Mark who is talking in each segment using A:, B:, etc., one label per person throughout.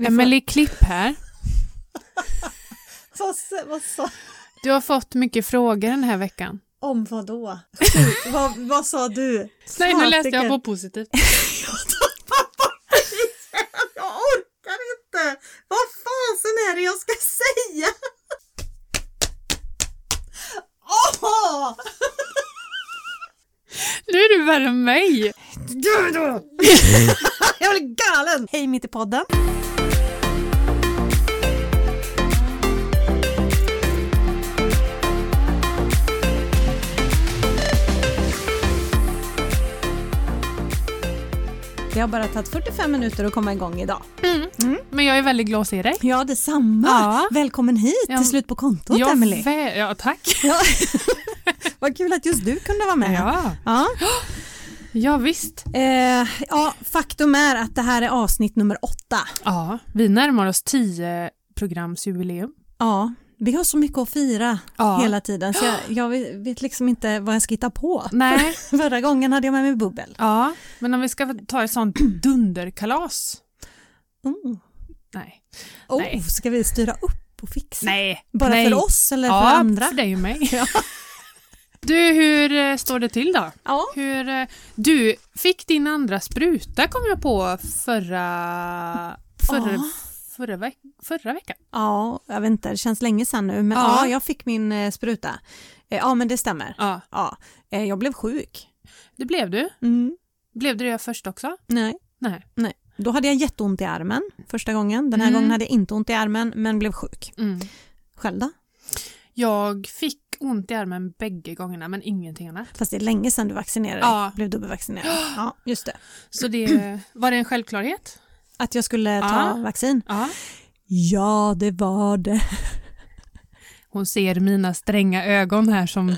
A: Vi får-
B: Emelie Klipp här.
A: Vad, s- vad, sa-
B: Du har fått mycket frågor den här veckan.
A: om vad då? Sjuk- vad, vad sa du?
B: Nej, nu läste jag
A: Fasiken.
B: på positivt.
A: Jag orkar inte! Vad fasen är det jag ska säga? Åh!
B: Nu är du värre än mig.
A: Gud! jag blir galen! Hej mitt i podden! Det har bara tagit 45 minuter att komma igång idag.
B: Men jag är väldigt glad att se dig.
A: Ja, detsamma.
B: Ja.
A: Välkommen hit
B: Ja.
A: till slut på kontot,
B: jag
A: Emelie.
B: vä- ja, tack.
A: Ja. Vad kul att just du kunde vara med.
B: Ja.
A: Ja.
B: ja, visst.
A: Eh, ja, faktum är att det här är avsnitt nummer åtta.
B: Ja, vi närmar oss 10 programsjubileum.
A: Ja, vi har så mycket att fira
B: Ja.
A: hela tiden så jag, jag vet liksom inte vad jag ska hitta på.
B: Nej,
A: Förra gången hade jag med mig bubbel.
B: ja, men om vi ska ta ett sånt dunderkalas.
A: Mm.
B: Nej.
A: Oh,
B: Nej.
A: Ska vi styra upp och fixa?
B: Nej.
A: Bara
B: Nej.
A: för oss eller
B: ja,
A: för andra?
B: för dig och mig. Du, hur eh, står det till då?
A: Ja.
B: Hur, eh, du fick din andra spruta kom jag på förra, förra,
A: Ja.
B: förra, veck, förra veckan.
A: ja, jag vet inte, det känns länge sedan nu men
B: Ja.
A: ja, jag fick min eh, spruta. Eh, ja, men det stämmer.
B: Ja,
A: Ja, eh, jag blev sjuk.
B: det blev du.
A: Mm.
B: Blev du det först också?
A: Nej.
B: Nej.
A: Då hade jag jätteont i armen första gången. Den här
B: Mm.
A: gången hade jag inte ont i armen men blev sjuk.
B: Mm.
A: Själv då?
B: Jag fick ont i armen bägge gångerna men ingenting annat.
A: Fast det är länge sedan du vaccinerade dig.
B: Ja.
A: Blev dubbelvaccinerad. Ja, just det.
B: Så det, var det en självklarhet?
A: Att jag skulle ta
B: Ja.
A: vaccin.
B: Ja.
A: Ja, det var det.
B: Hon ser mina stränga ögon här som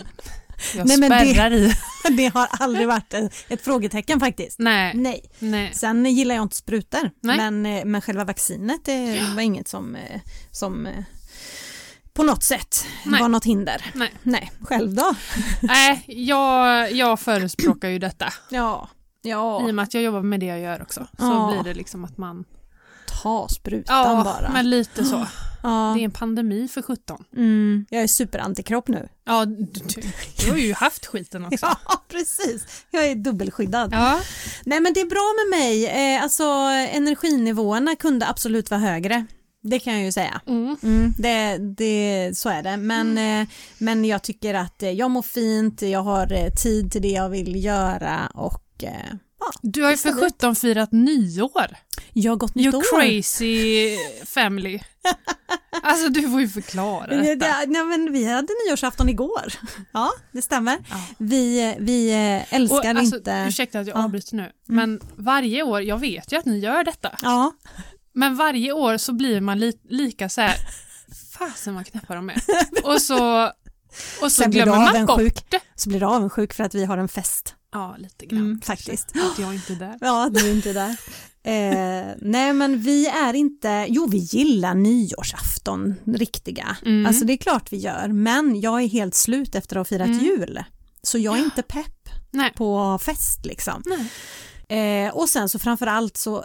B: jag
A: Nej, men det-
B: spärrar i.
A: Det har aldrig varit ett, ett frågetecken faktiskt.
B: Nej,
A: Nej.
B: nej.
A: Sen gillar jag inte sprutor.
B: Nej.
A: Men, eh, men själva vaccinet det var inget som, eh, som eh, på något sätt
B: Nej.
A: var något hinder.
B: Nej.
A: Nej, själv då?
B: nej jag, jag förespråkar ju detta.
A: Ja, ja.
B: I och med att jag jobbar med det jag gör också. Så
A: Ja.
B: blir det liksom att man...
A: ta sprutan
B: Ja,
A: bara.
B: men lite så.
A: ja.
B: Det är en pandemi för 17.
A: Mm, jag är superantikropp nu.
B: Ja, du, du, du har ju haft skiten också.
A: Ja, precis. Jag är dubbelskyddad.
B: Ja,
A: Nej, men det är bra med mig. Eh, alltså, energinivåerna kunde absolut vara högre. Det kan jag ju säga.
B: mm.
A: Mm, det, det, så är det. Men, eh, men jag tycker att eh, jag mår fint, jag har eh, tid till det jag vill göra och eh,
B: Du har ju
A: Visst är
B: för 17 firat nyår.
A: jag har gått nytt
B: You
A: år.
B: crazy family. Alltså du får ju förklara
A: Det,
B: detta.
A: det, nej, men vi hade nyårsafton igår. Ja, det stämmer.
B: Ja.
A: Vi, vi eh,
B: Och,
A: älskar
B: alltså,
A: inte...
B: Ursäkta att jag
A: Ja. Mm.
B: avbryter nu, men varje år, jag vet ju att ni gör detta,
A: Ja,
B: men varje år så blir man li lika så här, fasen vad knäppa de är. Och så, och så
A: Sen blir du
B: glömmer man bort
A: avundsjuk.
B: det.
A: så blir du avundsjuk för att vi har en fest.
B: Ja, lite grann.
A: Mm,
B: kanske.
A: faktiskt. Mm.
B: Att jag inte är där.
A: Ja, du är inte där. Eh, nej, men vi är inte, jo vi gillar nyårsafton, riktiga.
B: Mm.
A: Alltså det är klart vi gör, men jag är helt slut efter att ha firat
B: Mm.
A: jul. Så jag är inte pepp
B: Nej.
A: på fest liksom.
B: Nej.
A: Eh, och sen så framförallt så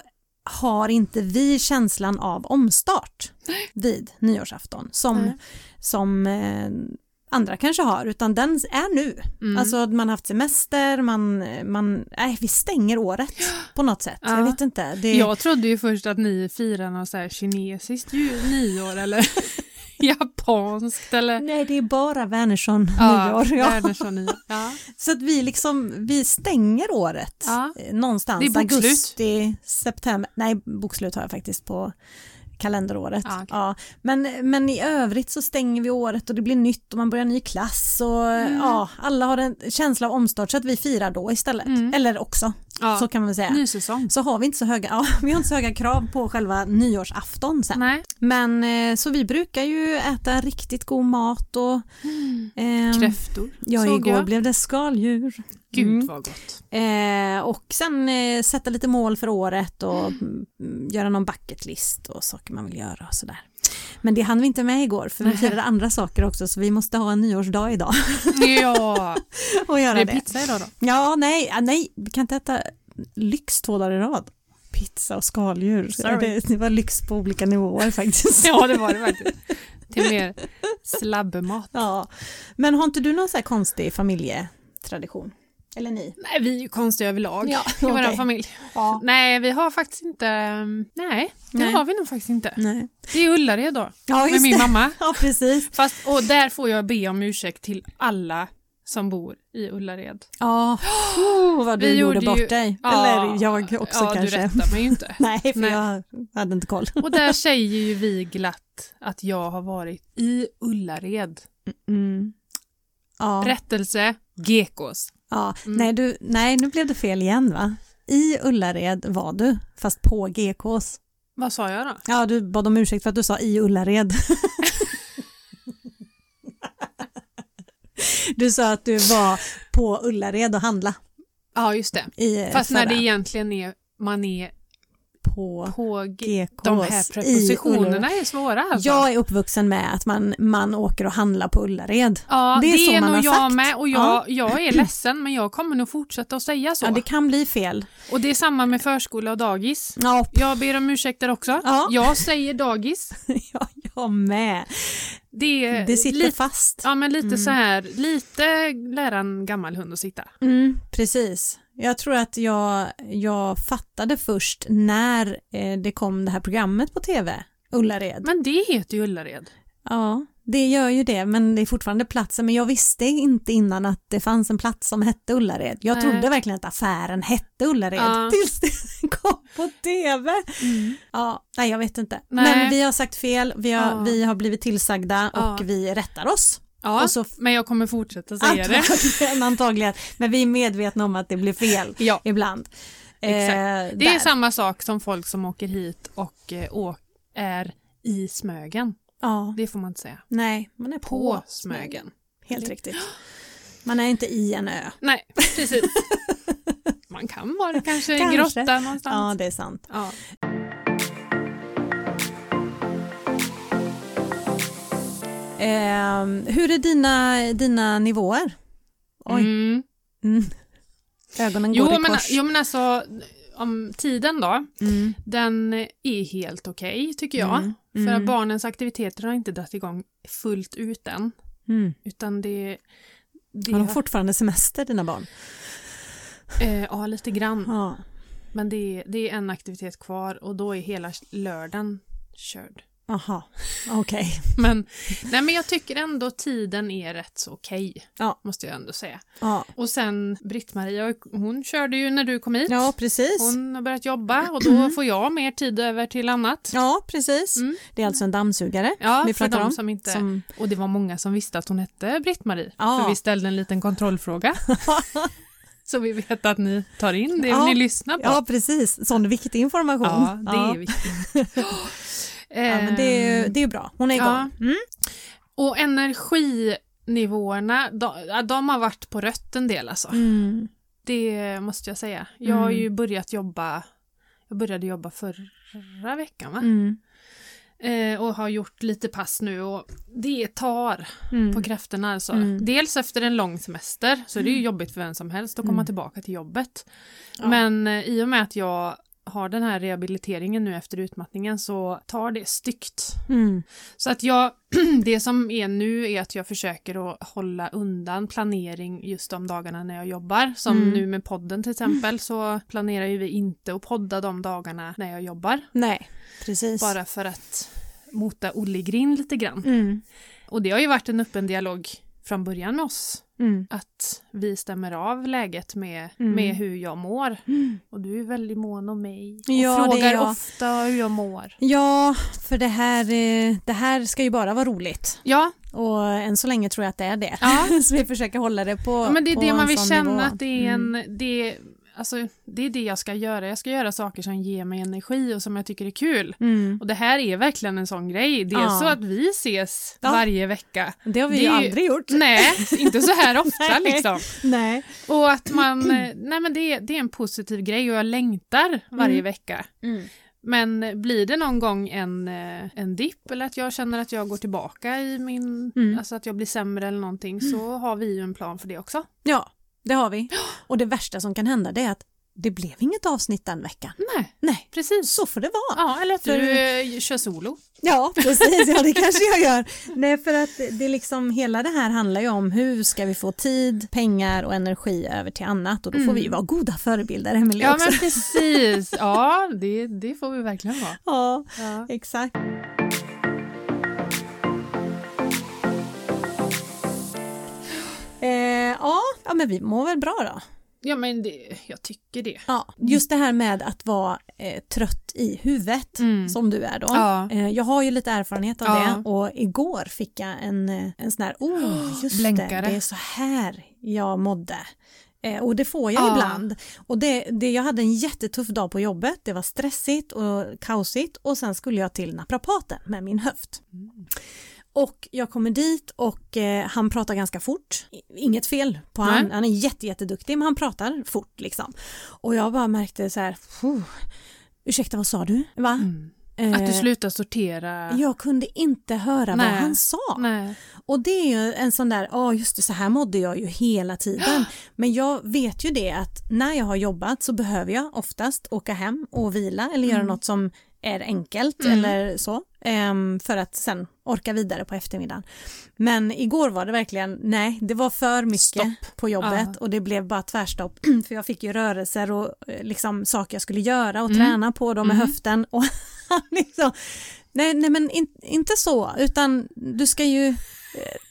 A: har inte vi känslan av omstart vid nyårsafton som,
B: Nej.
A: som eh, andra kanske har, utan den är nu.
B: Mm.
A: Alltså att man har haft semester, man, man, nej vi stänger året på något sätt.
B: Ja.
A: Jag vet inte. Det,
B: Jag trodde ju först att ni firar något så här kinesiskt ju- nyår eller japanskt eller
A: Nej det är bara Wernersson nyår. Ja.
B: Wernersson nyår. Ja.
A: Så att vi liksom, vi stänger året
B: Ja.
A: eh, någonstans.
B: Det är bokslut.
A: Augusti, september, nej bokslut har jag faktiskt på kalenderåret.
B: Ja, Ah, okej.
A: ja. men, men i övrigt så stänger vi året och det blir nytt och man börjar ny klass och
B: Mm.
A: ja, alla har en känsla av omstart så att vi firar då istället.
B: Mm.
A: Eller också,
B: Ja.
A: så kan man väl säga.
B: Ny säsong.
A: så har vi inte så höga, ja, vi har inte så höga krav på själva nyårsafton sen.
B: Nej.
A: Men eh, så vi brukar ju äta riktigt god mat och ehm,
B: Kräftor
A: ja,
B: såg
A: igår
B: jag.
A: blev det skaldjur.
B: Gud
A: Mm.
B: vad gott.
A: Eh, och sen eh, sätta lite mål för året och mm, göra någon bucket list och saker man vill göra och sådär. Men det hann vi inte med igår för vi firade andra saker också så vi måste ha en nyårsdag idag
B: Ja,
A: och
B: det
A: göra
B: är
A: det.
B: pizza idag då.
A: Ja, nej, ah, nej, vi kan inte äta lyx två dagar i rad. pizza och skaldjur.
B: Sorry.
A: Det, det var lyx på olika nivåer faktiskt.
B: Ja, det var det faktiskt. Till mer slabbmat.
A: Ja. Men har inte du någon så här konstig familjetradition? Eller ni?
B: Nej, vi är ju konstiga överlag
A: Ja,
B: i vår
A: okej.
B: familj.
A: Ja.
B: Nej, vi har faktiskt inte... mm, Nej, det
A: Nej.
B: har vi nog faktiskt inte.
A: Nej.
B: Det är Ullared då,
A: Ja,
B: med
A: just
B: min
A: det.
B: mamma.
A: Ja, precis.
B: Fast, och där får jag be om ursäkt till alla som bor i Ullared.
A: Ja, oh, vad du
B: Vi
A: gjorde
B: gjorde ju-
A: bort dig.
B: Ja.
A: Eller jag också
B: ja,
A: kanske.
B: du rättar mig ju inte.
A: Nej, för
B: Nej.
A: jag hade inte koll.
B: Och där säger ju vi glatt att jag har varit i Ullared. Mm.
A: Ja,
B: Rättelse, gekos.
A: ja.
B: Mm.
A: Nej, du, nej, nu blev det fel igen va? I Ullared var du, fast på GKs.
B: Vad sa jag då?
A: Ja, du bad om ursäkt för att du sa i Ullared. du sa att du var på Ullared och handla
B: Ja, just det.
A: i
B: Fast när
A: förra-
B: det egentligen är man är
A: på
B: på ge-
A: GKs.
B: De här
A: i Ullared.
B: prepositionerna är svåra alltså.
A: Jag är uppvuxen med att man, man åker och handlar på Ullared.
B: Ja,
A: Det
B: det
A: är
B: är,
A: så man
B: nog
A: har
B: jag
A: sagt.
B: med och jag,
A: Ja.
B: jag är ledsen men jag kommer nog fortsätta att säga så.
A: Ja, det kan bli fel.
B: Och det är samma med förskola och dagis.
A: Ja,
B: Jag ber om ursäkt där också.
A: Ja.
B: Jag säger dagis.
A: ja jag med.
B: Det, är
A: Det sitter
B: Eh, lite,
A: fast.
B: Ja, men lite så här, lite lära en gammal hund att sitta.
A: Mm, precis. Jag tror att jag, jag fattade först när eh, det kom det här programmet på tv, Ullared.
B: Men det heter ju Ullared.
A: Ja, det gör ju det, men det är fortfarande platsen. Men jag visste inte innan att det fanns en plats som hette Ullared. Jag
B: Nej.
A: trodde verkligen att affären hette Ullared
B: Ja. Mm.
A: tills det kom på tv. Ja, nej jag vet inte.
B: Nej.
A: Men vi har sagt fel, vi har,
B: Ja.
A: vi har blivit tillsagda
B: Ja.
A: och vi rättar oss.
B: Ja,
A: Och så-
B: men jag kommer fortsätta säga det.
A: Antagligen, antagligen. Men vi är medvetna om att det blir fel
B: Ja,
A: ibland.
B: Exakt.
A: Eh,
B: det är
A: där.
B: samma sak som folk som åker hit och eh, å- är i Smögen.
A: Ja,
B: Det får man inte säga.
A: nej, man är på,
B: På Smögen.
A: Helt riktigt. Man är inte i en ö.
B: Nej, precis. Man kan vara det kanske i en
A: Kanske.
B: grotta någonstans.
A: Ja, det är sant.
B: Ja.
A: Eh, hur är dina, dina nivåer? Oj.
B: Mm.
A: Mm. Ögonen
B: Jo,
A: går i
B: men,
A: kors.
B: jo, men alltså om tiden då,
A: Mm.
B: den är helt okej tycker jag.
A: Mm,
B: För
A: mm.
B: att barnens aktiviteter har inte dragit igång fullt ut än.
A: Mm.
B: Utan det... det
A: Har de fortfarande semester, dina barn?
B: eh, ja, lite grann.
A: Ja.
B: Men det, är- det är en aktivitet kvar och då är hela lördagen körd.
A: Aha, okej.
B: Men, nej, men jag tycker ändå tiden är rätt så okej,
A: Ja.
B: måste jag ändå säga.
A: Ja.
B: Och sen Britt-Maria, hon körde ju när du kom hit.
A: ja, precis.
B: Hon har börjat jobba och då får jag mer tid över till annat.
A: Ja, precis.
B: Mm.
A: Det är alltså en dammsugare
B: Ja,
A: vi
B: för
A: pratar
B: de
A: om.
B: som inte...
A: som
B: Och det var många som visste att hon hette Britt-Marie,
A: Ja.
B: för vi ställde en liten kontrollfråga. så vi vet att ni tar in det
A: Ja.
B: ni lyssnar på.
A: Ja, precis. Sån viktig information.
B: Ja, det är viktigt. Ehm,
A: Ja, men det är, Mm. ju- det är bra. Hon är igång.
B: Ja. Och energinivåerna, de, ja, de har varit på rött en del alltså.
A: Mm.
B: Det måste jag säga. Jag har ju börjat jobba, jag började jobba förra veckan va?
A: Mm.
B: Eh, och har gjort lite pass nu och det tar
A: Mm.
B: på krafterna alltså.
A: Mm.
B: Dels efter en lång semester så är det ju jobbigt för vem som helst att komma
A: Mm.
B: tillbaka till jobbet.
A: Ja.
B: Men eh, i och med att jag har den här rehabiliteringen nu efter utmattningen så tar det styggt.
A: Mm.
B: Så att jag, det som är nu är att jag försöker att hålla undan planering just de dagarna när jag jobbar. Som
A: Mm.
B: nu med podden till exempel så planerar ju vi inte att podda de dagarna när jag jobbar.
A: Nej, precis.
B: Bara för att mota Olle i grind lite grann.
A: Mm.
B: Och det har ju varit en öppen dialog från början med oss.
A: Mm.
B: Att vi stämmer av läget med,
A: Mm.
B: med hur jag mår. Och du är väldigt mån om mig. Och
A: Ja, det är
B: frågar
A: jag.
B: ofta hur jag mår.
A: Ja, för det här, eh, det här ska ju bara vara roligt.
B: Ja,
A: Och än så länge tror jag att det är det.
B: ja.
A: Så vi försöker hålla det på
B: Ja, men det är
A: på
B: det
A: en
B: man vill
A: sån
B: känna
A: nivå. Mm.
B: att det är en... Det, alltså, det är det jag ska göra. Jag ska göra saker som ger mig energi och som jag tycker är kul.
A: Mm.
B: Och det här är verkligen en sån grej. Det är
A: Ja.
B: så att vi ses
A: Ja.
B: varje vecka.
A: Det har vi
B: Det
A: ju
B: är ju-
A: aldrig gjort.
B: Nej, inte så här ofta
A: Nej.
B: liksom.
A: Nej.
B: Och att man... eh, Nej men det, är- det är en positiv grej och jag längtar varje
A: Mm.
B: vecka. Men blir det någon gång en, eh, en dipp eller att jag känner att jag går tillbaka i min...
A: Mm.
B: Alltså att jag blir sämre eller någonting så har vi ju en plan för det också.
A: Ja, det har vi. Och det värsta som kan hända det är att det blev inget avsnitt den veckan.
B: Nej,
A: Nej,
B: precis.
A: så får det vara.
B: Ja, eller att
A: För-
B: du eh, kör solo.
A: Ja, precis. Ja, det kanske jag gör. Nej, för att det är liksom, hela det här handlar ju om hur ska vi få tid, pengar och energi över till annat och då får
B: Mm.
A: vi ju vara goda förebilder, Emelie
B: Ja,
A: också.
B: men precis. Ja, det, det får vi verkligen vara.
A: Ja,
B: Ja.
A: exakt. Eh, ja, ja, men vi mår väl bra då.
B: Ja, men det, jag tycker det.
A: Ja, just det här med att vara eh, trött i huvudet
B: Mm.
A: som du är då.
B: Ja.
A: Eh, jag har ju lite erfarenhet av
B: Ja.
A: det och igår fick jag en, eh, en sån här, oh just
B: Blänkare.
A: det, det är så här jag mådde. Eh, och det får jag
B: Ja.
A: ibland. Och det, det, jag hade en jättetuff dag på jobbet, det var stressigt och kaosigt och sen skulle jag till naprapaten med min höft. Och jag kommer dit och eh, han pratar ganska fort. I- Inget fel på
B: Nej.
A: han, han är jätte, jätteduktig men han pratar fort liksom. Och jag bara märkte så här, "Puh, ursäkta vad sa du? Va?
B: Mm.
A: Eh,
B: Att du slutar sortera.
A: jag kunde inte höra
B: Nej.
A: vad han sa.
B: Nej.
A: Och det är ju en sån där, ja just det, så här mådde jag ju hela tiden. Men jag vet ju det att när jag har jobbat så behöver jag oftast åka hem och vila eller göra
B: Mm.
A: något som är enkelt
B: Mm.
A: eller så. ehm, för att sen orka vidare på eftermiddagen. Men igår var det verkligen, nej, det var för mycket
B: Stopp.
A: på jobbet
B: Ja.
A: och det blev bara tvärstopp. för jag fick ju rörelser och eh, liksom saker jag skulle göra och
B: Mm.
A: träna på dem med
B: Mm.
A: höften. Och han liksom, nej, nej men in, inte så, utan du ska ju eh,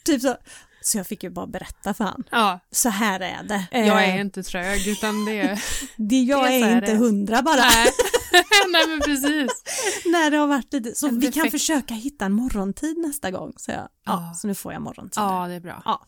A: typ så. Så jag fick ju bara berätta för han.
B: Ja,
A: Så här är det. Eh,
B: jag är inte trög utan det är...
A: det, jag
B: det är
A: är,
B: så här
A: inte
B: det är.
A: hundra bara.
B: Nej. Nej, men precis.
A: När det har varit lite, så
B: En
A: vi kan
B: defekt.
A: försöka hitta en morgontid nästa gång. Så, jag, ja,
B: Ja.
A: så nu får jag morgontid.
B: Ja, det är bra.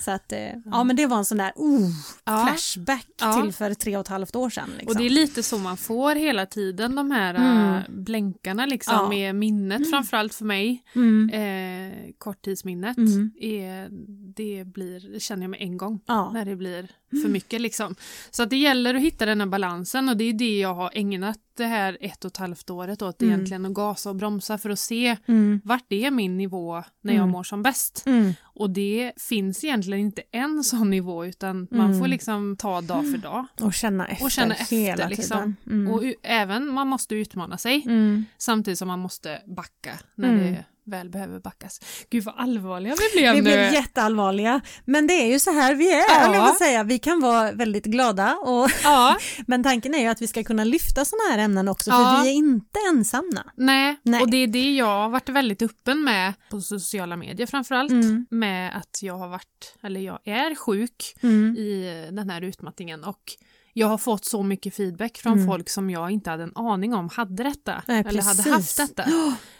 A: Så att, eh, ja men det var en sån där oh,
B: Ja.
A: flashback
B: Ja.
A: till för tre och ett halvt år sedan. Liksom.
B: Och det är lite så man får hela tiden de här
A: Mm.
B: äh, blänkarna liksom
A: Ja.
B: med minnet framförallt för mig.
A: mm.
B: Eh, korttidsminnet.
A: Mm.
B: Är, det, blir, det känner jag med en gång
A: Ja. Mm.
B: när det blir för mycket liksom. Så att det gäller att hitta den här balansen och det är det jag har ägnat det här ett och ett halvt året åt
A: Mm.
B: egentligen att gasa och bromsa för att se
A: Mm.
B: vart är min nivå när jag
A: Mm.
B: mår som bäst.
A: Mm.
B: Och det finns egentligen inte en sån nivå utan
A: Mm.
B: man får liksom ta dag för dag.
A: Och känna efter,
B: Och känna efter,
A: hela
B: liksom.
A: tiden. Mm.
B: Och u- även man måste utmana sig
A: mm.
B: samtidigt som man måste backa när
A: Mm.
B: det väl behöver backas. Gud vad allvarliga vi blev
A: Vi
B: nu.
A: blev jätteallvarliga, men det är ju så här vi är.
B: Ja.
A: höll Jag vill säga. Vi kan vara väldigt glada, och,
B: ja,
A: men tanken är ju att vi ska kunna lyfta sådana här ämnen också,
B: Ja.
A: för vi är inte ensamma.
B: nej.
A: Nej.
B: och det är det jag har varit väldigt öppen med på sociala medier framförallt.
A: Mm.
B: Med att jag har varit, eller jag är sjuk
A: Mm.
B: i den här utmattningen och jag har fått så mycket feedback från
A: Mm.
B: folk som jag inte hade en aning om hade detta.
A: Nej,
B: eller hade
A: precis.
B: haft detta.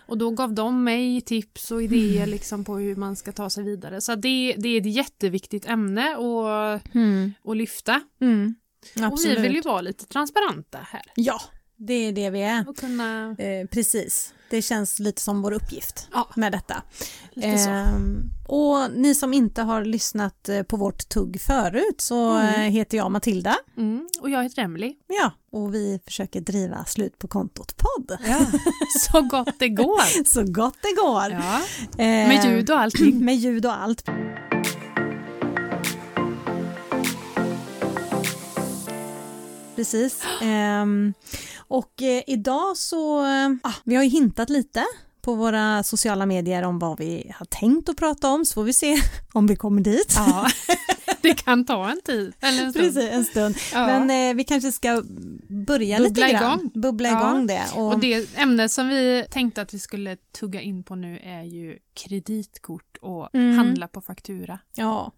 B: Och då gav de mig tips och idéer
A: Mm.
B: liksom på hur man ska ta sig vidare. Så det, det är ett jätteviktigt ämne att,
A: Mm.
B: att lyfta.
A: Mm.
B: Och vi vill
A: Absolut.
B: ju vara lite transparenta här.
A: Ja, det är det vi är.
B: Och kunna...
A: Eh, precis, det känns lite som vår uppgift
B: Ja.
A: med detta.
B: Lite så.
A: Ehm, och ni som inte har lyssnat eh, på vårt tugg förut så
B: Mm.
A: eh, heter jag Matilda.
B: Mm. Och jag heter Emily.
A: Ja, och vi försöker driva Slut på kontot-podd
B: Så gott det går.
A: så gott det går.
B: Ja.
A: Eh,
B: Med ljud och allting.
A: med ljud och allt. Precis. Ehm, och eh, idag så, eh, ah, vi har ju hintat lite på våra sociala medier om vad vi har tänkt att prata om så får vi se om vi kommer dit.
B: Ja. Det kan ta en tid. Eller en stund.
A: Precis, en stund.
B: Ja.
A: Men eh, vi kanske ska börja
B: Bubbla
A: lite grann.
B: igång.
A: Bubbla
B: Ja.
A: igång det. Och,
B: Och det ämne som vi tänkte att vi skulle tugga in på nu är ju kreditkort och
A: Mm.
B: handla på faktura.
A: Ja.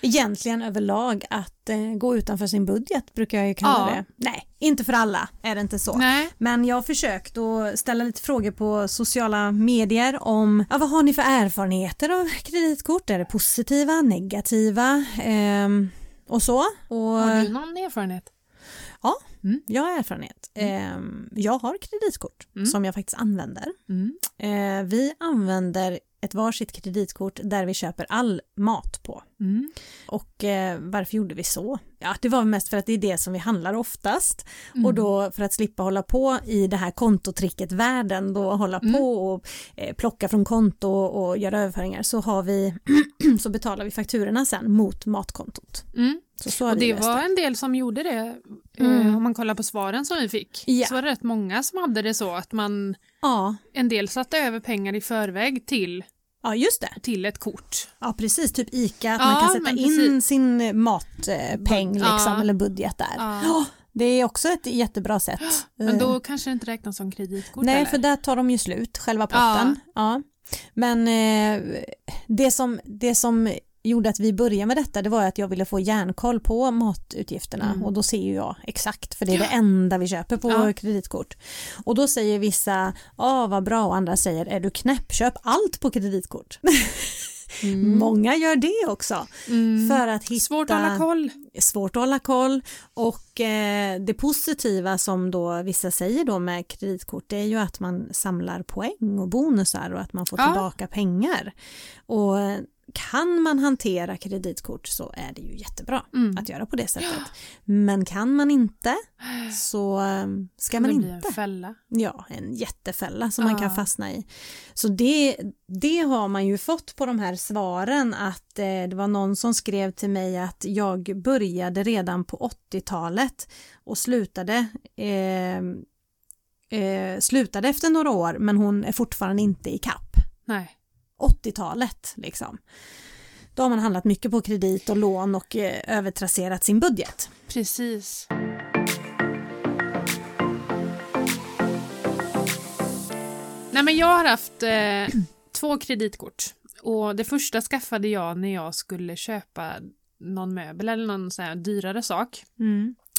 A: Egentligen överlag att eh, gå utanför sin budget brukar jag ju kalla
B: Ja.
A: det. Nej, inte för alla är det inte så.
B: Nej.
A: Men jag har försökt att ställa lite frågor på sociala medier om ja, vad har ni för erfarenheter av kreditkort? Är det positiva, negativa ehm, och så? Och, eh,
B: Har du någon erfarenhet?
A: Jag har erfarenhet. Ehm, jag har kreditkort
B: Mm.
A: som jag faktiskt använder.
B: Mm.
A: Eh, vi använder ett varsitt kreditkort där vi köper all mat på.
B: Mm.
A: Och eh, varför gjorde vi så? Ja, det var mest för att det är det som vi handlar oftast
B: Mm.
A: och då för att slippa hålla på i det här kontotricket världen då hålla
B: Mm.
A: på och eh, plocka från konto och göra överföringar så har vi så betalar vi fakturorna sen mot matkontot.
B: Mm.
A: Så, så har
B: Och
A: vi
B: det
A: löst
B: var en del som gjorde det.
A: Mm.
B: Eh, om man kollar på svaren som vi fick
A: Ja.
B: så var det rätt många som hade det så att man
A: Ja,
B: en del satte över pengar i förväg till,
A: ja just det.
B: till ett kort.
A: Ja precis, typ ICA att
B: Ja,
A: man kan sätta
B: men
A: in
B: precis.
A: sin matpeng
B: Bud-
A: liksom,
B: Ja.
A: eller budget där.
B: Ja.
A: Ja, det är också ett jättebra sätt.
B: Men då kanske det inte räknas som kreditkort
A: Nej,
B: eller?
A: för där tar de ju slut, själva potten. Ja. Men eh, det, som, det som gjorde att vi började med detta det var ju att jag ville få järnkoll på matutgifterna
B: Mm.
A: och då ser ju jag exakt för det är det enda vi köper på
B: Ja.
A: kreditkort. Och då säger vissa, ja vad bra och andra säger, är du knäpp, köp allt på kreditkort.
B: Mm.
A: Många gör det också
B: Mm.
A: för att hitta
B: Svårt att hålla koll.
A: svårt att hålla koll och eh, det positiva som då vissa säger då med kreditkort det är ju att man samlar poäng och bonusar och att man får
B: Ja.
A: tillbaka pengar. Och eh, kan man hantera kreditkort så är det ju jättebra
B: Mm.
A: att göra på det sättet. Men kan man inte så eh, ska man
B: det blir
A: inte.
B: en fälla.
A: Ja, en jättefälla som man
B: Ja.
A: kan fastna i. Så det, det har man ju fått på de här svaren att eh, det var någon som skrev till mig att jag började redan på 80-talet och slutade, eh, eh, slutade efter några år men hon är fortfarande inte i kapp.
B: Nej.
A: 80-talet liksom. Då har man handlat mycket på kredit och lån och eh, övertrasserat sin budget.
B: Precis. Nej, men jag har haft eh, två kreditkort. Och Det första skaffade jag när jag skulle köpa någon möbel eller någon sån här dyrare sak.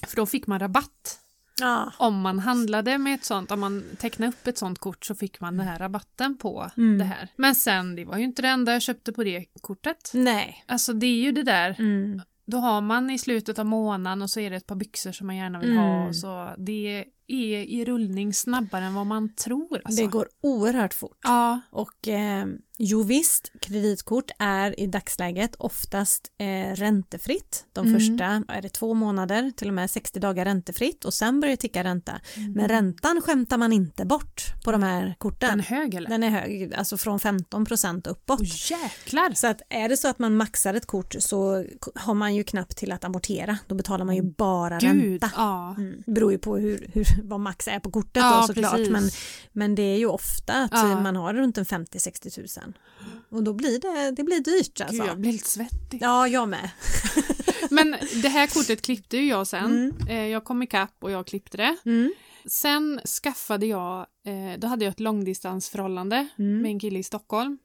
B: För då fick man rabatt.
A: Ja.
B: Om man handlade med ett sånt, om man tecknade upp ett sånt kort så fick man den här rabatten på
A: Mm.
B: det här. Men sen, det var ju inte det enda jag köpte på det kortet.
A: Nej.
B: Alltså det är ju det där
A: Mm.
B: då har man i slutet av månaden och så är det ett par byxor som man gärna vill ha.
A: Mm.
B: Och så det är i rullning snabbare än vad man tror. Alltså.
A: Det går oerhört fort.
B: Ja,
A: Och eh, jo visst, kreditkort är i dagsläget oftast eh, räntefritt. De
B: Mm.
A: första är det två månader, till och med 60 dagar räntefritt och sen börjar det ticka ränta.
B: Mm.
A: Men räntan skämtar man inte bort på de här
B: den
A: korten.
B: är hög eller?
A: Den är hög, alltså från 15 procent uppåt.
B: Åh jäklar!
A: Så att är det så att man maxar ett kort så k- har man ju knappt till att amortera. Då betalar man ju bara
B: Mm. Gud!
A: ränta.
B: Ja.
A: Mm. Det beror ju på hur, hur, vad max är på kortet
B: Ja,
A: då, såklart.
B: precis.
A: Men, men det är ju ofta att
B: Ja.
A: eh, man har runt en 50-60 tusen. Och då blir det, det blir dyrt
B: Gud, jag
A: alltså.
B: blir lite svettig.
A: Ja, jag med.
B: Men det här kortet klippte ju jag sen.
A: Mm.
B: Eh, Jag kom ikapp och jag klippte det.
A: Mm.
B: Sen skaffade jag, eh, då hade jag ett långdistansförhållande
A: Mm.
B: med en kille i Stockholm.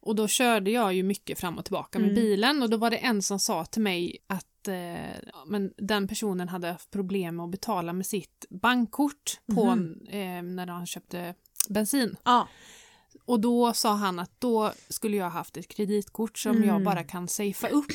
B: Och då körde jag ju mycket fram och tillbaka med
A: Mm.
B: bilen och då var det en som sa till mig att eh, ja, men den personen hade haft problem med att betala med sitt bankkort på
A: Mhm.
B: eh, när han köpte bensin.
A: Ja.
B: Och då sa han att då skulle jag haft ett kreditkort som jag
A: Mm.
B: bara kan safea upp.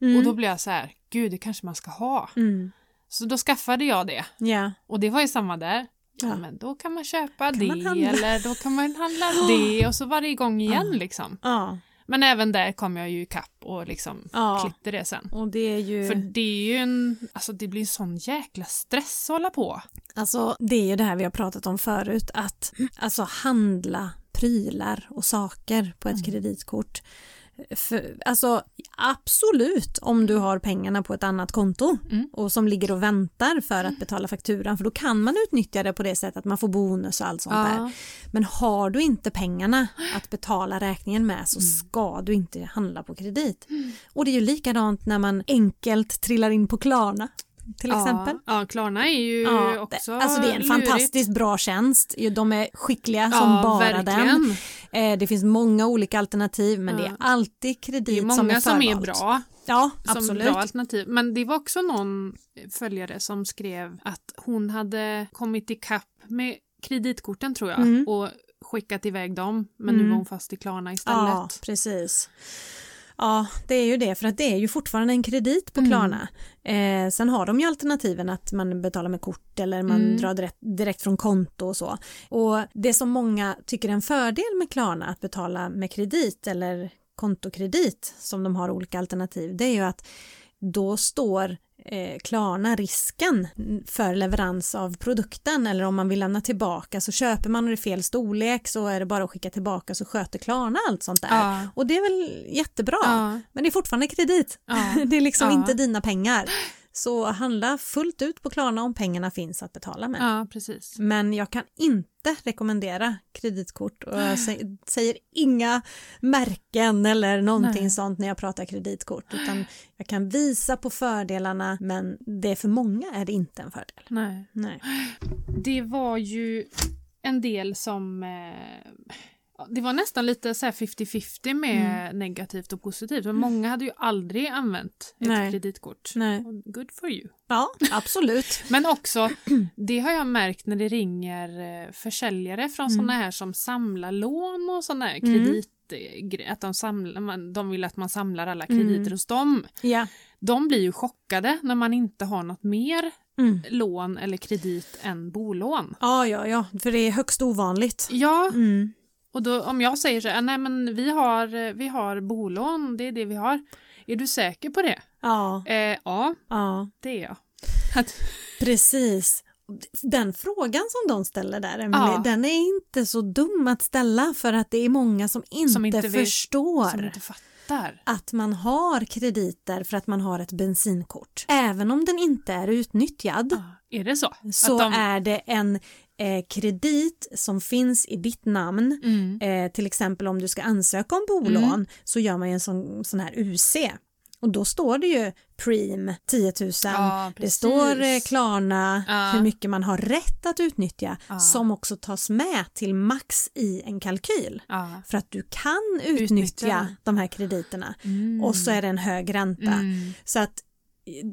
A: Mm.
B: Och då blev jag så här, gud det kanske man ska ha.
A: Mm.
B: Så då skaffade jag det.
A: Ja.
B: Och det var ju samma där. Ja.
A: Ja.
B: men då kan man köpa
A: Kan
B: det
A: man handla?
B: eller då kan man handla det och så var det igång igen
A: Ja.
B: liksom.
A: ja.
B: Men även där kom jag ju i kapp och liksom
A: Ja.
B: klippte det sen.
A: Och det är ju...
B: För det är ju en, alltså det blir en sån jäkla stress att hålla på.
A: Alltså det är ju det här vi har pratat om förut att alltså handla prylar och saker på ett
B: Mm.
A: kreditkort. För, alltså absolut om du har pengarna på ett annat konto
B: Mm.
A: och som ligger och väntar för att betala fakturan för då kan man utnyttja det på det sättet att man får bonus och allt sånt där. Men har du inte pengarna att betala räkningen med
B: Mm.
A: så ska du inte handla på kredit. Och det är ju likadant när man enkelt trillar in på Klarna till exempel.
B: Ja, ja Klarna är ju
A: Ja,
B: också
A: det, alltså det är en
B: lurigt.
A: fantastiskt bra tjänst. Ju, De är skickliga som
B: ja,
A: bara
B: verkligen.
A: den. Eh, Det finns många olika alternativ men
B: Ja.
A: det är alltid
B: Det är
A: kredit som är
B: många som är
A: förvalt.
B: bra.
A: Ja,
B: som
A: absolut.
B: bra alternativ. Men det var också någon följare som skrev att hon hade kommit ikapp med kreditkorten tror jag
A: Mm.
B: och skickat iväg dem men nu
A: Mm.
B: var hon fast i Klarna istället.
A: Ja, precis. Ja, det är ju det, för att det är ju fortfarande en kredit
B: Mm.
A: på Klarna. Eh, sen har de ju alternativen att man betalar med kort eller man
B: Mm.
A: drar direkt, direkt från konto och så. Och det som många tycker är en fördel med Klarna att betala med kredit eller kontokredit som de har olika alternativ, det är ju att då står eh, Klarna risken för leverans av produkten eller om man vill lämna tillbaka så köper man och det är fel storlek så är det bara att skicka tillbaka så sköter Klarna allt sånt där.
B: Ja.
A: Och det är väl jättebra,
B: Ja.
A: men det är fortfarande kredit.
B: Ja.
A: Det är liksom
B: Ja.
A: inte dina pengar. Så handla fullt ut på Klarna om pengarna finns att betala med.
B: ja, precis.
A: Men jag kan inte rekommendera kreditkort och jag sä- säger inga märken eller någonting
B: Nej.
A: sånt när jag pratar kreditkort utan jag kan visa på fördelarna men det är för många är det inte en fördel.
B: Nej.
A: Nej.
B: Det var ju en del som... Eh, ja, det var nästan lite så här 50-50 med
A: Mm.
B: negativt och positivt. Men många hade ju aldrig använt ett
A: Nej.
B: kreditkort.
A: Nej.
B: Och Good for you.
A: Ja, absolut.
B: Men också, det har jag märkt när det ringer eh, försäljare från såna
A: Mm.
B: här som samlar lån och såna här kredit gre- att de, samlar, man- de vill att man samlar alla
A: Mm.
B: krediter hos dem.
A: ja.
B: De blir ju chockade när man inte har något mer
A: Mm.
B: lån eller kredit än bolån.
A: ja, ja, ja, för det är högst ovanligt.
B: Ja,
A: Mm.
B: och då, om jag säger så här, nej men vi har, eh, vi har bolån, det är det vi har. Är du säker på det?
A: Ja,
B: Eh, ja,
A: ja.
B: det är jag. Att,
A: Precis. Den frågan som de ställer där, Emily,
B: Ja.
A: den är inte så dum att ställa för att det är många som inte,
B: inte vet-
A: förstår
B: som inte fattar.
A: att man har krediter för att man har ett bensinkort. Även om den inte är utnyttjad
B: Ja, Är det så?
A: så
B: Att de-
A: är det en eh, kredit som finns i ditt namn.
B: Mm.
A: Eh, till exempel om du ska ansöka om bolån så gör man ju en sån, sån här UC. Och då står det ju Preem 10 000.
B: Ja,
A: det
B: precis.
A: står eh, Klarna,
B: Ja.
A: hur mycket man har rätt att utnyttja
B: Ja.
A: som också tas med till max i en kalkyl.
B: Ja.
A: För att du kan utnyttja,
B: Utnyttja.
A: de här krediterna
B: Mm.
A: och så är det en hög ränta.
B: Mm.
A: Så att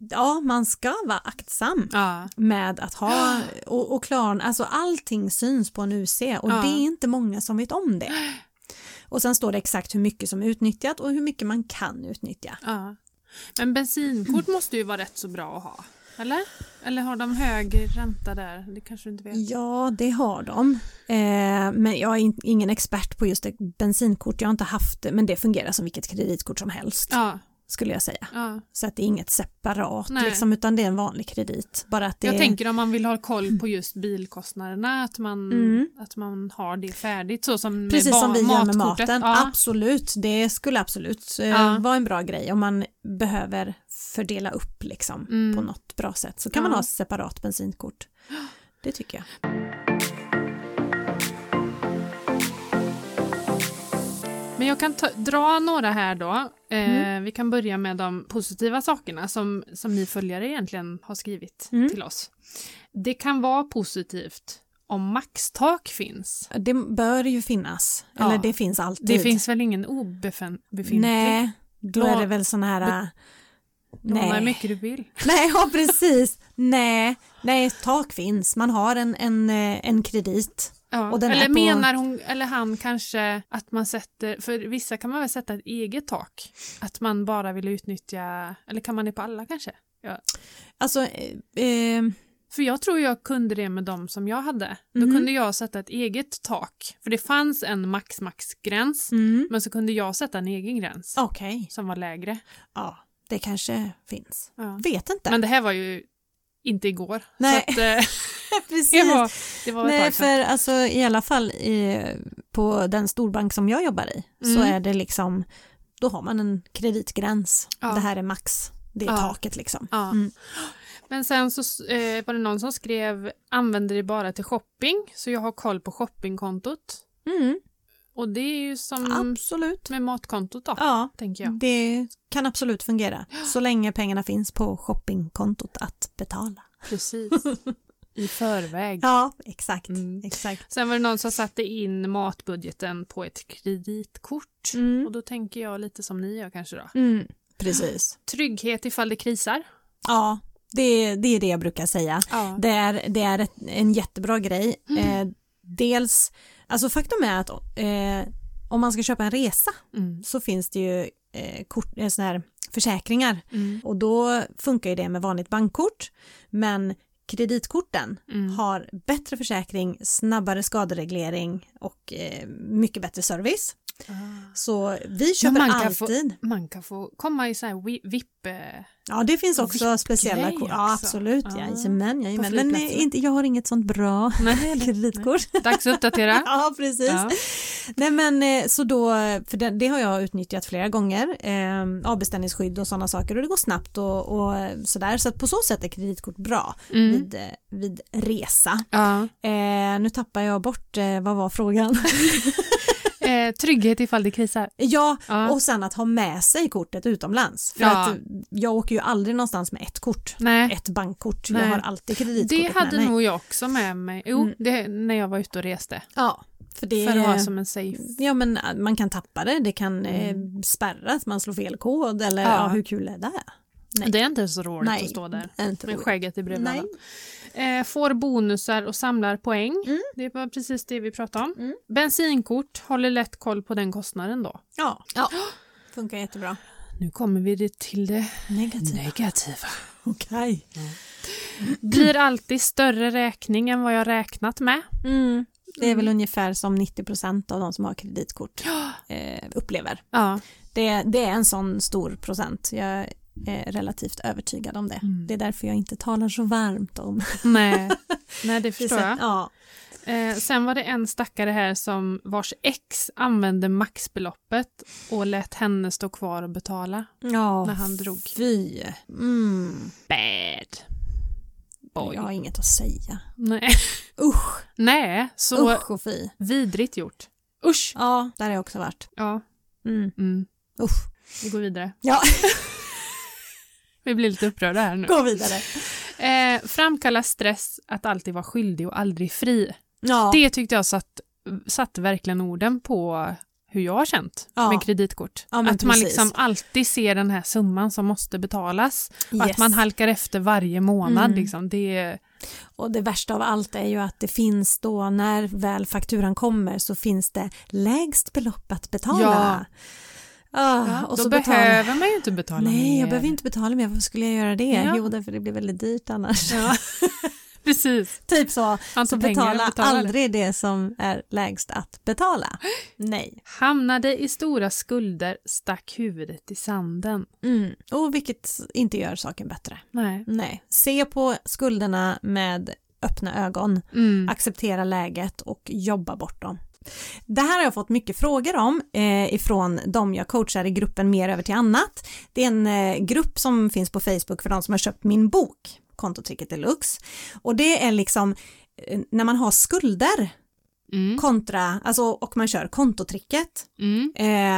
A: ja, man ska vara aktsam
B: Ja.
A: med att ha och, och klarna, alltså allting syns på en UC och
B: Ja.
A: det är inte många som vet om det. Och sen står det exakt hur mycket som är utnyttjat och hur mycket man kan utnyttja.
B: ja. Men bensinkort måste ju vara rätt så bra att ha. Eller? Eller har de hög ränta där? Det kanske du inte vet?
A: Ja, det har de. Eh, men jag är in, ingen expert på just det bensinkort, jag har inte haft det, men det fungerar som vilket kreditkort som helst
B: Ja.
A: skulle jag säga.
B: ja.
A: Så att det är inget separat
B: Nej.
A: liksom, utan det är en vanlig kredit. Bara att det
B: Jag
A: är-
B: tänker om man vill ha koll på just bilkostnaderna, att man,
A: Mm.
B: att man har det färdigt så som med
A: Precis som
B: ba-
A: vi gör med
B: matkortet.
A: maten.
B: Ja.
A: Absolut, det skulle absolut eh,
B: Ja.
A: vara en bra grej om man behöver fördela upp liksom,
B: Mm.
A: på något bra sätt. Så kan man
B: Ja.
A: ha separat bensinkort. Det tycker jag.
B: Men jag kan ta, dra några här då. Eh,
A: Mm.
B: Vi kan börja med de positiva sakerna som, som ni följare egentligen har skrivit
A: Mm.
B: till oss. Det kan vara positivt om maxtak finns.
A: Det bör ju finnas,
B: Ja.
A: eller det finns alltid.
B: Det finns väl ingen obefintlig?
A: Nej, då
B: Lå-
A: är det väl sån här... äh,
B: Låna hur
A: Nej.
B: mycket du vill.
A: Nej, ja precis. Nej, nej, tak finns. Man har en, en, eh, en kredit.
B: Ja.
A: Och den är
B: eller
A: på-
B: menar hon, eller han kanske att man sätter, för vissa kan man väl sätta ett eget tak? Att man bara vill utnyttja, eller kan man det på alla kanske? Ja.
A: Alltså, eh, eh,
B: För jag tror jag kunde det med de som jag hade. Då
A: Mhm.
B: kunde jag sätta ett eget tak. För det fanns en max-max-gräns.
A: mm.
B: Men så kunde jag sätta en egen gräns.
A: okej.
B: Som var lägre.
A: Ja, det kanske finns.
B: Ja.
A: Vet inte.
B: Men det här var ju inte igår.
A: Nej.
B: Så att, eh,
A: precis.
B: det var, det var ett
A: Nej,
B: tag sedan.
A: för alltså, i alla fall i, på den storbank som jag jobbar i så
B: Mm.
A: är det liksom, då har man en kreditgräns.
B: Ja.
A: Det här är max, det är
B: Ja.
A: taket liksom.
B: Ja.
A: Mm.
B: Men sen så eh, var det någon som skrev använder det bara till shopping. Så jag har koll på shoppingkontot.
A: Mm,
B: Och det är ju som
A: Absolut.
B: med matkontot då.
A: Ja, Mm,
B: Tänker jag.
A: det kan absolut fungera. Så länge pengarna finns på shoppingkontot att betala.
B: Precis. I förväg.
A: Ja, exakt.
B: Mm.
A: exakt.
B: Sen var det någon som satte in matbudgeten på ett kreditkort.
A: Mm.
B: Och då tänker jag lite som ni gör kanske då.
A: Mm. Precis.
B: Trygghet ifall det krisar.
A: Ja, det, det är det jag brukar säga.
B: Ja.
A: Det är, det är ett, en jättebra grej.
B: Mm.
A: Eh, dels, alltså faktum är att eh, om man ska köpa en resa
B: Mm.
A: så finns det ju eh, kort, eh, såna här försäkringar.
B: Mm.
A: Och då funkar ju det med vanligt bankkort. Men kreditkorten
B: Mm.
A: har bättre försäkring, snabbare skadereglering och eh, mycket bättre service.
B: Ah.
A: Så vi köper
B: man kan få-
A: alltid.
B: Man kan få komma i så här wi- vipp... eh,
A: Ja, det finns också speciella kort. Ja,
B: också.
A: absolut.
B: Ja.
A: Jajamän, jajamän.
B: På
A: Men
B: flygplatserna.
A: eh, inte, jag har inget sånt bra
B: Nej, det-
A: kreditkort.
B: Dags att uppdatera.
A: Ja, precis.
B: Ja.
A: Nej men eh, så då, för det, det har jag utnyttjat flera gånger, eh, avbeställningsskydd och sådana saker och det går snabbt och, och eh, sådär så att på så sätt är kreditkort bra
B: Mm.
A: vid, eh, vid resa.
B: Ja.
A: Eh, nu tappar jag bort, eh, vad var frågan?
B: Eh, trygghet ifall det krisar.
A: ja,
B: Ja.
A: och sen att ha med sig kortet utomlands. För
B: Ja.
A: att eh, jag åker ju aldrig någonstans med ett kort,
B: Nej.
A: ett bankkort,
B: Nej.
A: jag har alltid
B: Det
A: kreditkortet med
B: hade
A: mig.
B: nog jag också med mig. Jo,
A: Mm.
B: det, när jag var ute och reste.
A: Ja, för det
B: För att ha som en safe.
A: Ja men eh, man kan tappa det, det kan eh,
B: Mm.
A: spärras, man slår fel kod eller
B: Ja.
A: ja. hur kul är det? Nej.
B: Det är inte så roligt
A: Nej,
B: att stå där
A: det är Inte
B: med
A: roligt.
B: skägget i
A: Nej.
B: brevlådan. Eh, får bonusar och samlar poäng.
A: Mm.
B: Det var precis det vi pratade om.
A: Mm.
B: Bensinkort håller lätt koll på den kostnaden då.
A: Ja. ja. Funkar jättebra.
B: Nu kommer vi det till det
A: Negativt.
B: negativa.
A: Okej.
B: Blir alltid större räkning än vad jag räknat med.
A: Mm. Det är väl ungefär som 90 av de som har kreditkort eh, upplever.
B: Ja.
A: Det, det är en sån stor procent. Jag är relativt övertygad om det.
B: Mm.
A: Det är därför jag inte talar så varmt om det.
B: Nej. Nej, det förstår
A: sen-
B: jag.
A: Ja.
B: Eh, sen var det en stackare här som vars ex använde maxbeloppet och lät henne stå kvar och betala.
A: ja.
B: När han drog.
A: Fy. Mm.
B: Bad. Boy.
A: Jag har inget att säga.
B: Nej.
A: Usch,
B: Nej, så
A: usch och fy.
B: vidrigt gjort. Usch!
A: Ja, där har jag också varit.
B: Ja,
A: Mm.
B: mm.
A: Usch.
B: vi går vidare.
A: Ja,
B: Vi blir lite upprörda här nu.
A: gå vidare.
B: Eh, framkalla stress att alltid vara skyldig och aldrig fri.
A: Ja,
B: Det tyckte jag satt, satt verkligen orden på hur jag har känt
A: Ja.
B: med kreditkort.
A: Ja, men
B: att man
A: precis.
B: liksom alltid ser den här summan som måste betalas och
A: yes.
B: att man halkar efter varje månad.
A: Mm.
B: Liksom. Det är,
A: Och det värsta av allt är ju att det finns då när väl fakturan kommer så finns det lägst belopp att betala. Ah, och
B: då
A: så betala.
B: behöver man ju inte betala
A: Nej,
B: mer.
A: jag behöver inte betala mer. Varför skulle jag göra det?
B: Ja.
A: Jo, därför det blir väldigt dyrt annars.
B: Ja. Precis. Alltså,
A: typ så.
B: Han
A: Så
B: tog pengar och
A: betala
B: betalade.
A: aldrig det som är lägst att betala. Nej.
B: Hamnade i stora skulder, stack huvudet i sanden.
A: Mm. Och vilket inte gör saken bättre.
B: Nej.
A: Nej. Se på skulderna med öppna ögon.
B: Mm.
A: acceptera läget och jobba bort dem. Det här har jag fått mycket frågor om eh, ifrån de jag coachar i gruppen Mer över till annat. Det är en eh, grupp som finns på Facebook för de som har köpt min bok Kontotricket Deluxe. Och det är liksom eh, när man har skulder
B: Mm.
A: kontra, alltså och man kör kontotricket
B: Mm.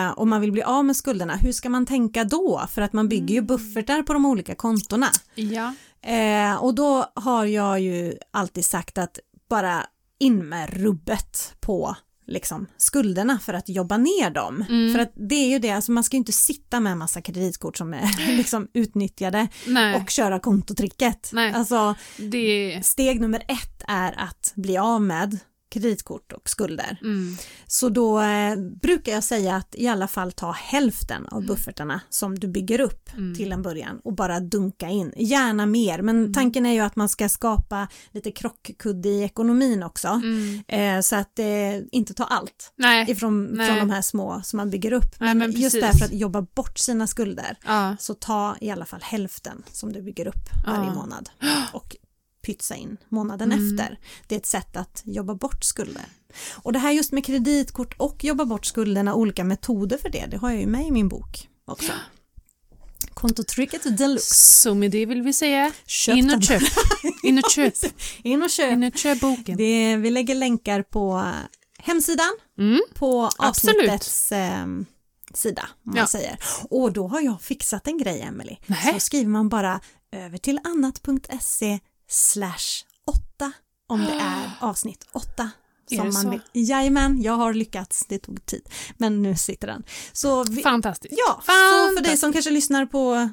A: eh, och man vill bli av med skulderna, hur ska man tänka då? För att man bygger ju
B: Mm.
A: buffertar på de olika kontona.
B: Ja.
A: Eh, och då har jag ju alltid sagt att bara in med rubbet på liksom skulderna för att jobba ner dem.
B: Mm.
A: För att det är ju det, alltså man ska ju inte sitta med en massa kreditkort som är liksom utnyttjade
B: Nej.
A: och köra kontotricket.
B: Nej.
A: Alltså
B: det...
A: steg nummer ett är att bli av med kreditkort och skulder.
B: Mm.
A: Så då eh, brukar jag säga att i alla fall ta hälften av buffertarna som du bygger upp
B: Mm.
A: till en början och bara dunka in. Gärna mer, men tanken är ju att man ska skapa lite krockkudde i ekonomin också.
B: Mm.
A: Eh, så att eh, inte ta allt
B: Nej.
A: ifrån
B: Nej.
A: från de här små som man bygger upp.
B: Nej, men
A: just
B: precis.
A: därför att jobba bort sina skulder.
B: Ja.
A: Så ta i alla fall hälften som du bygger upp varje
B: Ja.
A: månad och pytsa in månaden
B: Mm.
A: efter. Det är ett sätt att jobba bort skulder. Och det här just med kreditkort och jobba bort skulderna, olika metoder för det, det har jag ju med i min bok också. Kontotricket deluxe.
B: Så med det vill vi säga,
A: Köp
B: in
A: den.
B: och köp. In och köp.
A: In och köp.
B: In och köp boken.
A: Det, vi lägger länkar på hemsidan
B: Mm.
A: på
B: Absolut.
A: avsnittets ehm, sida. Om man
B: Ja.
A: säger. Och då har jag fixat en grej, Emily.
B: Nähä.
A: Så skriver man bara över till annat.se E slash 8 om det är avsnitt 8.
B: Är
A: Som
B: det
A: man
B: så?
A: vill. Jajamän, jag har lyckats. Det tog tid. Men nu sitter den. Så vi,
B: Fantastiskt.
A: ja, så för
B: Fantastiskt.
A: dig som kanske lyssnar på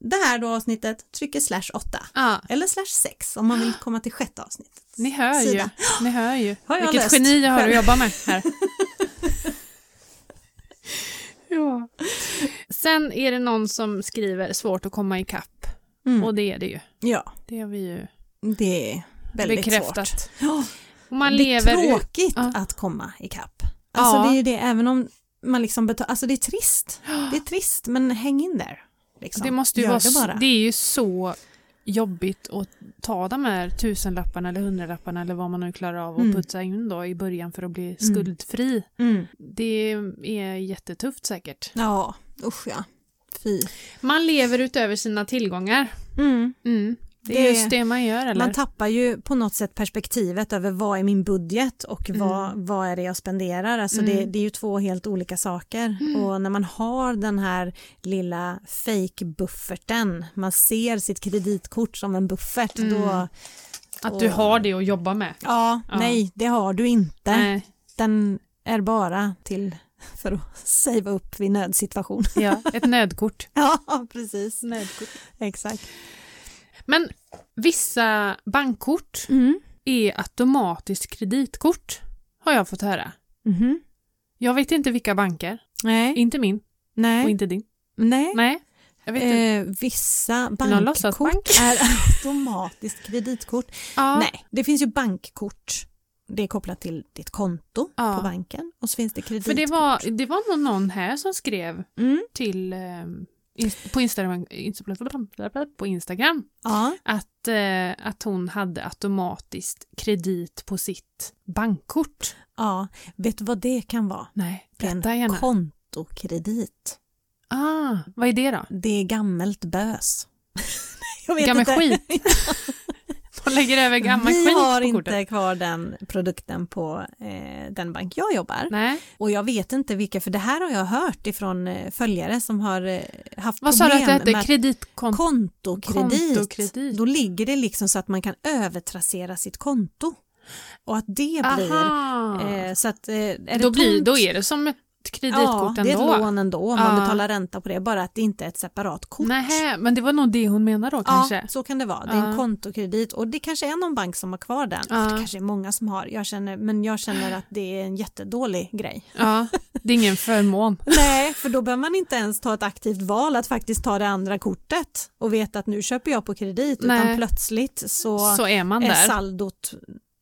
A: det här då avsnittet, trycker slash 8.
B: Ja,
A: Eller slash 6 om man vill komma till sjätte avsnittet.
B: ni hör ju.
A: Sida.
B: Ni hör ju.
A: Har jag
B: Vilket
A: löst
B: geni jag har att
A: själv.
B: jobba med här. ja. Sen är det någon som skriver svårt att komma ikapp.
A: Mm.
B: Och det är det ju.
A: Ja,
B: Det har vi ju
A: det är väldigt
B: bekräftat.
A: svårt. Ja,
B: Och man
A: det är
B: lever ut-
A: tråkigt
B: Ja.
A: att komma ikapp. Alltså
B: Ja.
A: det är ju det, även om man liksom betalar, alltså det är trist. Det är trist, men häng in där. Liksom.
B: Det måste ju
A: Gör
B: vara,
A: det bara.
B: det, det är ju så jobbigt att ta de här tusenlapparna eller hundralapparna eller vad man nu klarar av att
A: Mm.
B: putsa in då i början för att bli skuldfri.
A: Mm.
B: Det är jättetufft säkert.
A: Ja, usch ja. Fy.
B: Man lever utöver sina tillgångar. Mm. Det, är
A: Det-
B: just det man gör eller?
A: Man tappar ju på något sätt perspektivet över vad är min budget och
B: Mm.
A: vad, vad är det jag spenderar. Alltså det, det är ju två helt olika saker.
B: Mm.
A: Och när man har den här lilla fake-bufferten, man ser sitt kreditkort som en buffert, då...
B: att du har det att jobba med.
A: Ja,
B: Mm. Ja.
A: nej, det har du inte.
B: Nej.
A: Den är bara till för att savea upp vid nödsituation.
B: Ja, ett nödkort.
A: ja, precis.
B: nödkort.
A: Exakt.
B: Men vissa bankkort
A: Mm.
B: är automatiskt kreditkort har jag fått höra.
A: Mhm.
B: Jag vet inte vilka banker,
A: Nej.
B: inte min och
A: Nej.
B: inte din.
A: Nej.
B: Nej, jag vet inte.
A: Eh, vissa
B: någon
A: bankkort
B: låtsasbank?
A: är automatiskt kreditkort.
B: Ja.
A: Nej, det finns ju bankkort. Det är kopplat till ditt konto
B: Ja.
A: på banken och så finns det kreditkort.
B: För det var, det var nog någon här som skrev
A: Mm.
B: till ehm, ins- på Instagram, inst- på Instagram
A: Ja,
B: att, eh, att hon hade automatiskt kredit på sitt bankkort.
A: ja. Vet du vad det kan vara?
B: Nej,
A: Det är en
B: berätta gärna.
A: kontokredit.
B: Ah, vad är det då?
A: Det är gammelt bös. Jag vet
B: Gammal
A: inte.
B: skit. De lägger över gammal
A: Vi
B: skit
A: har
B: på
A: inte
B: kortet.
A: kvar den produkten på eh, den bank jag jobbar.
B: Nej.
A: Och jag vet inte vilka, för det här har jag hört ifrån eh, följare som har eh, haft
B: Vad sa
A: problem
B: du att det
A: med
B: hette?
A: att
B: Kreditkonto?
A: kontokredit,
B: Kontokredit.
A: då ligger det liksom så att man kan övertrassera sitt konto. Och att det blir...
B: Aha.
A: Eh, så att, eh, är det
B: då, blir,
A: tomt-
B: då är det som ett kreditkort
A: ja,
B: ändå.
A: det är ett lån ändå. Man
B: Ja.
A: betalar ränta på det, bara att det inte är ett separat kort.
B: Nähä, men det var nog det hon menade då
A: Ja,
B: kanske.
A: så kan det vara. Det är en
B: Ja.
A: kontokredit och det kanske är någon bank som har kvar den.
B: Ja.
A: Det kanske är många som har, jag känner, men jag känner att det är en jättedålig grej.
B: Ja, det är ingen förmån.
A: Nej, för då behöver man inte ens ta ett aktivt val att faktiskt ta det andra kortet och veta att nu köper jag på kredit utan
B: Nej.
A: plötsligt så,
B: Så är man
A: är
B: där.
A: saldot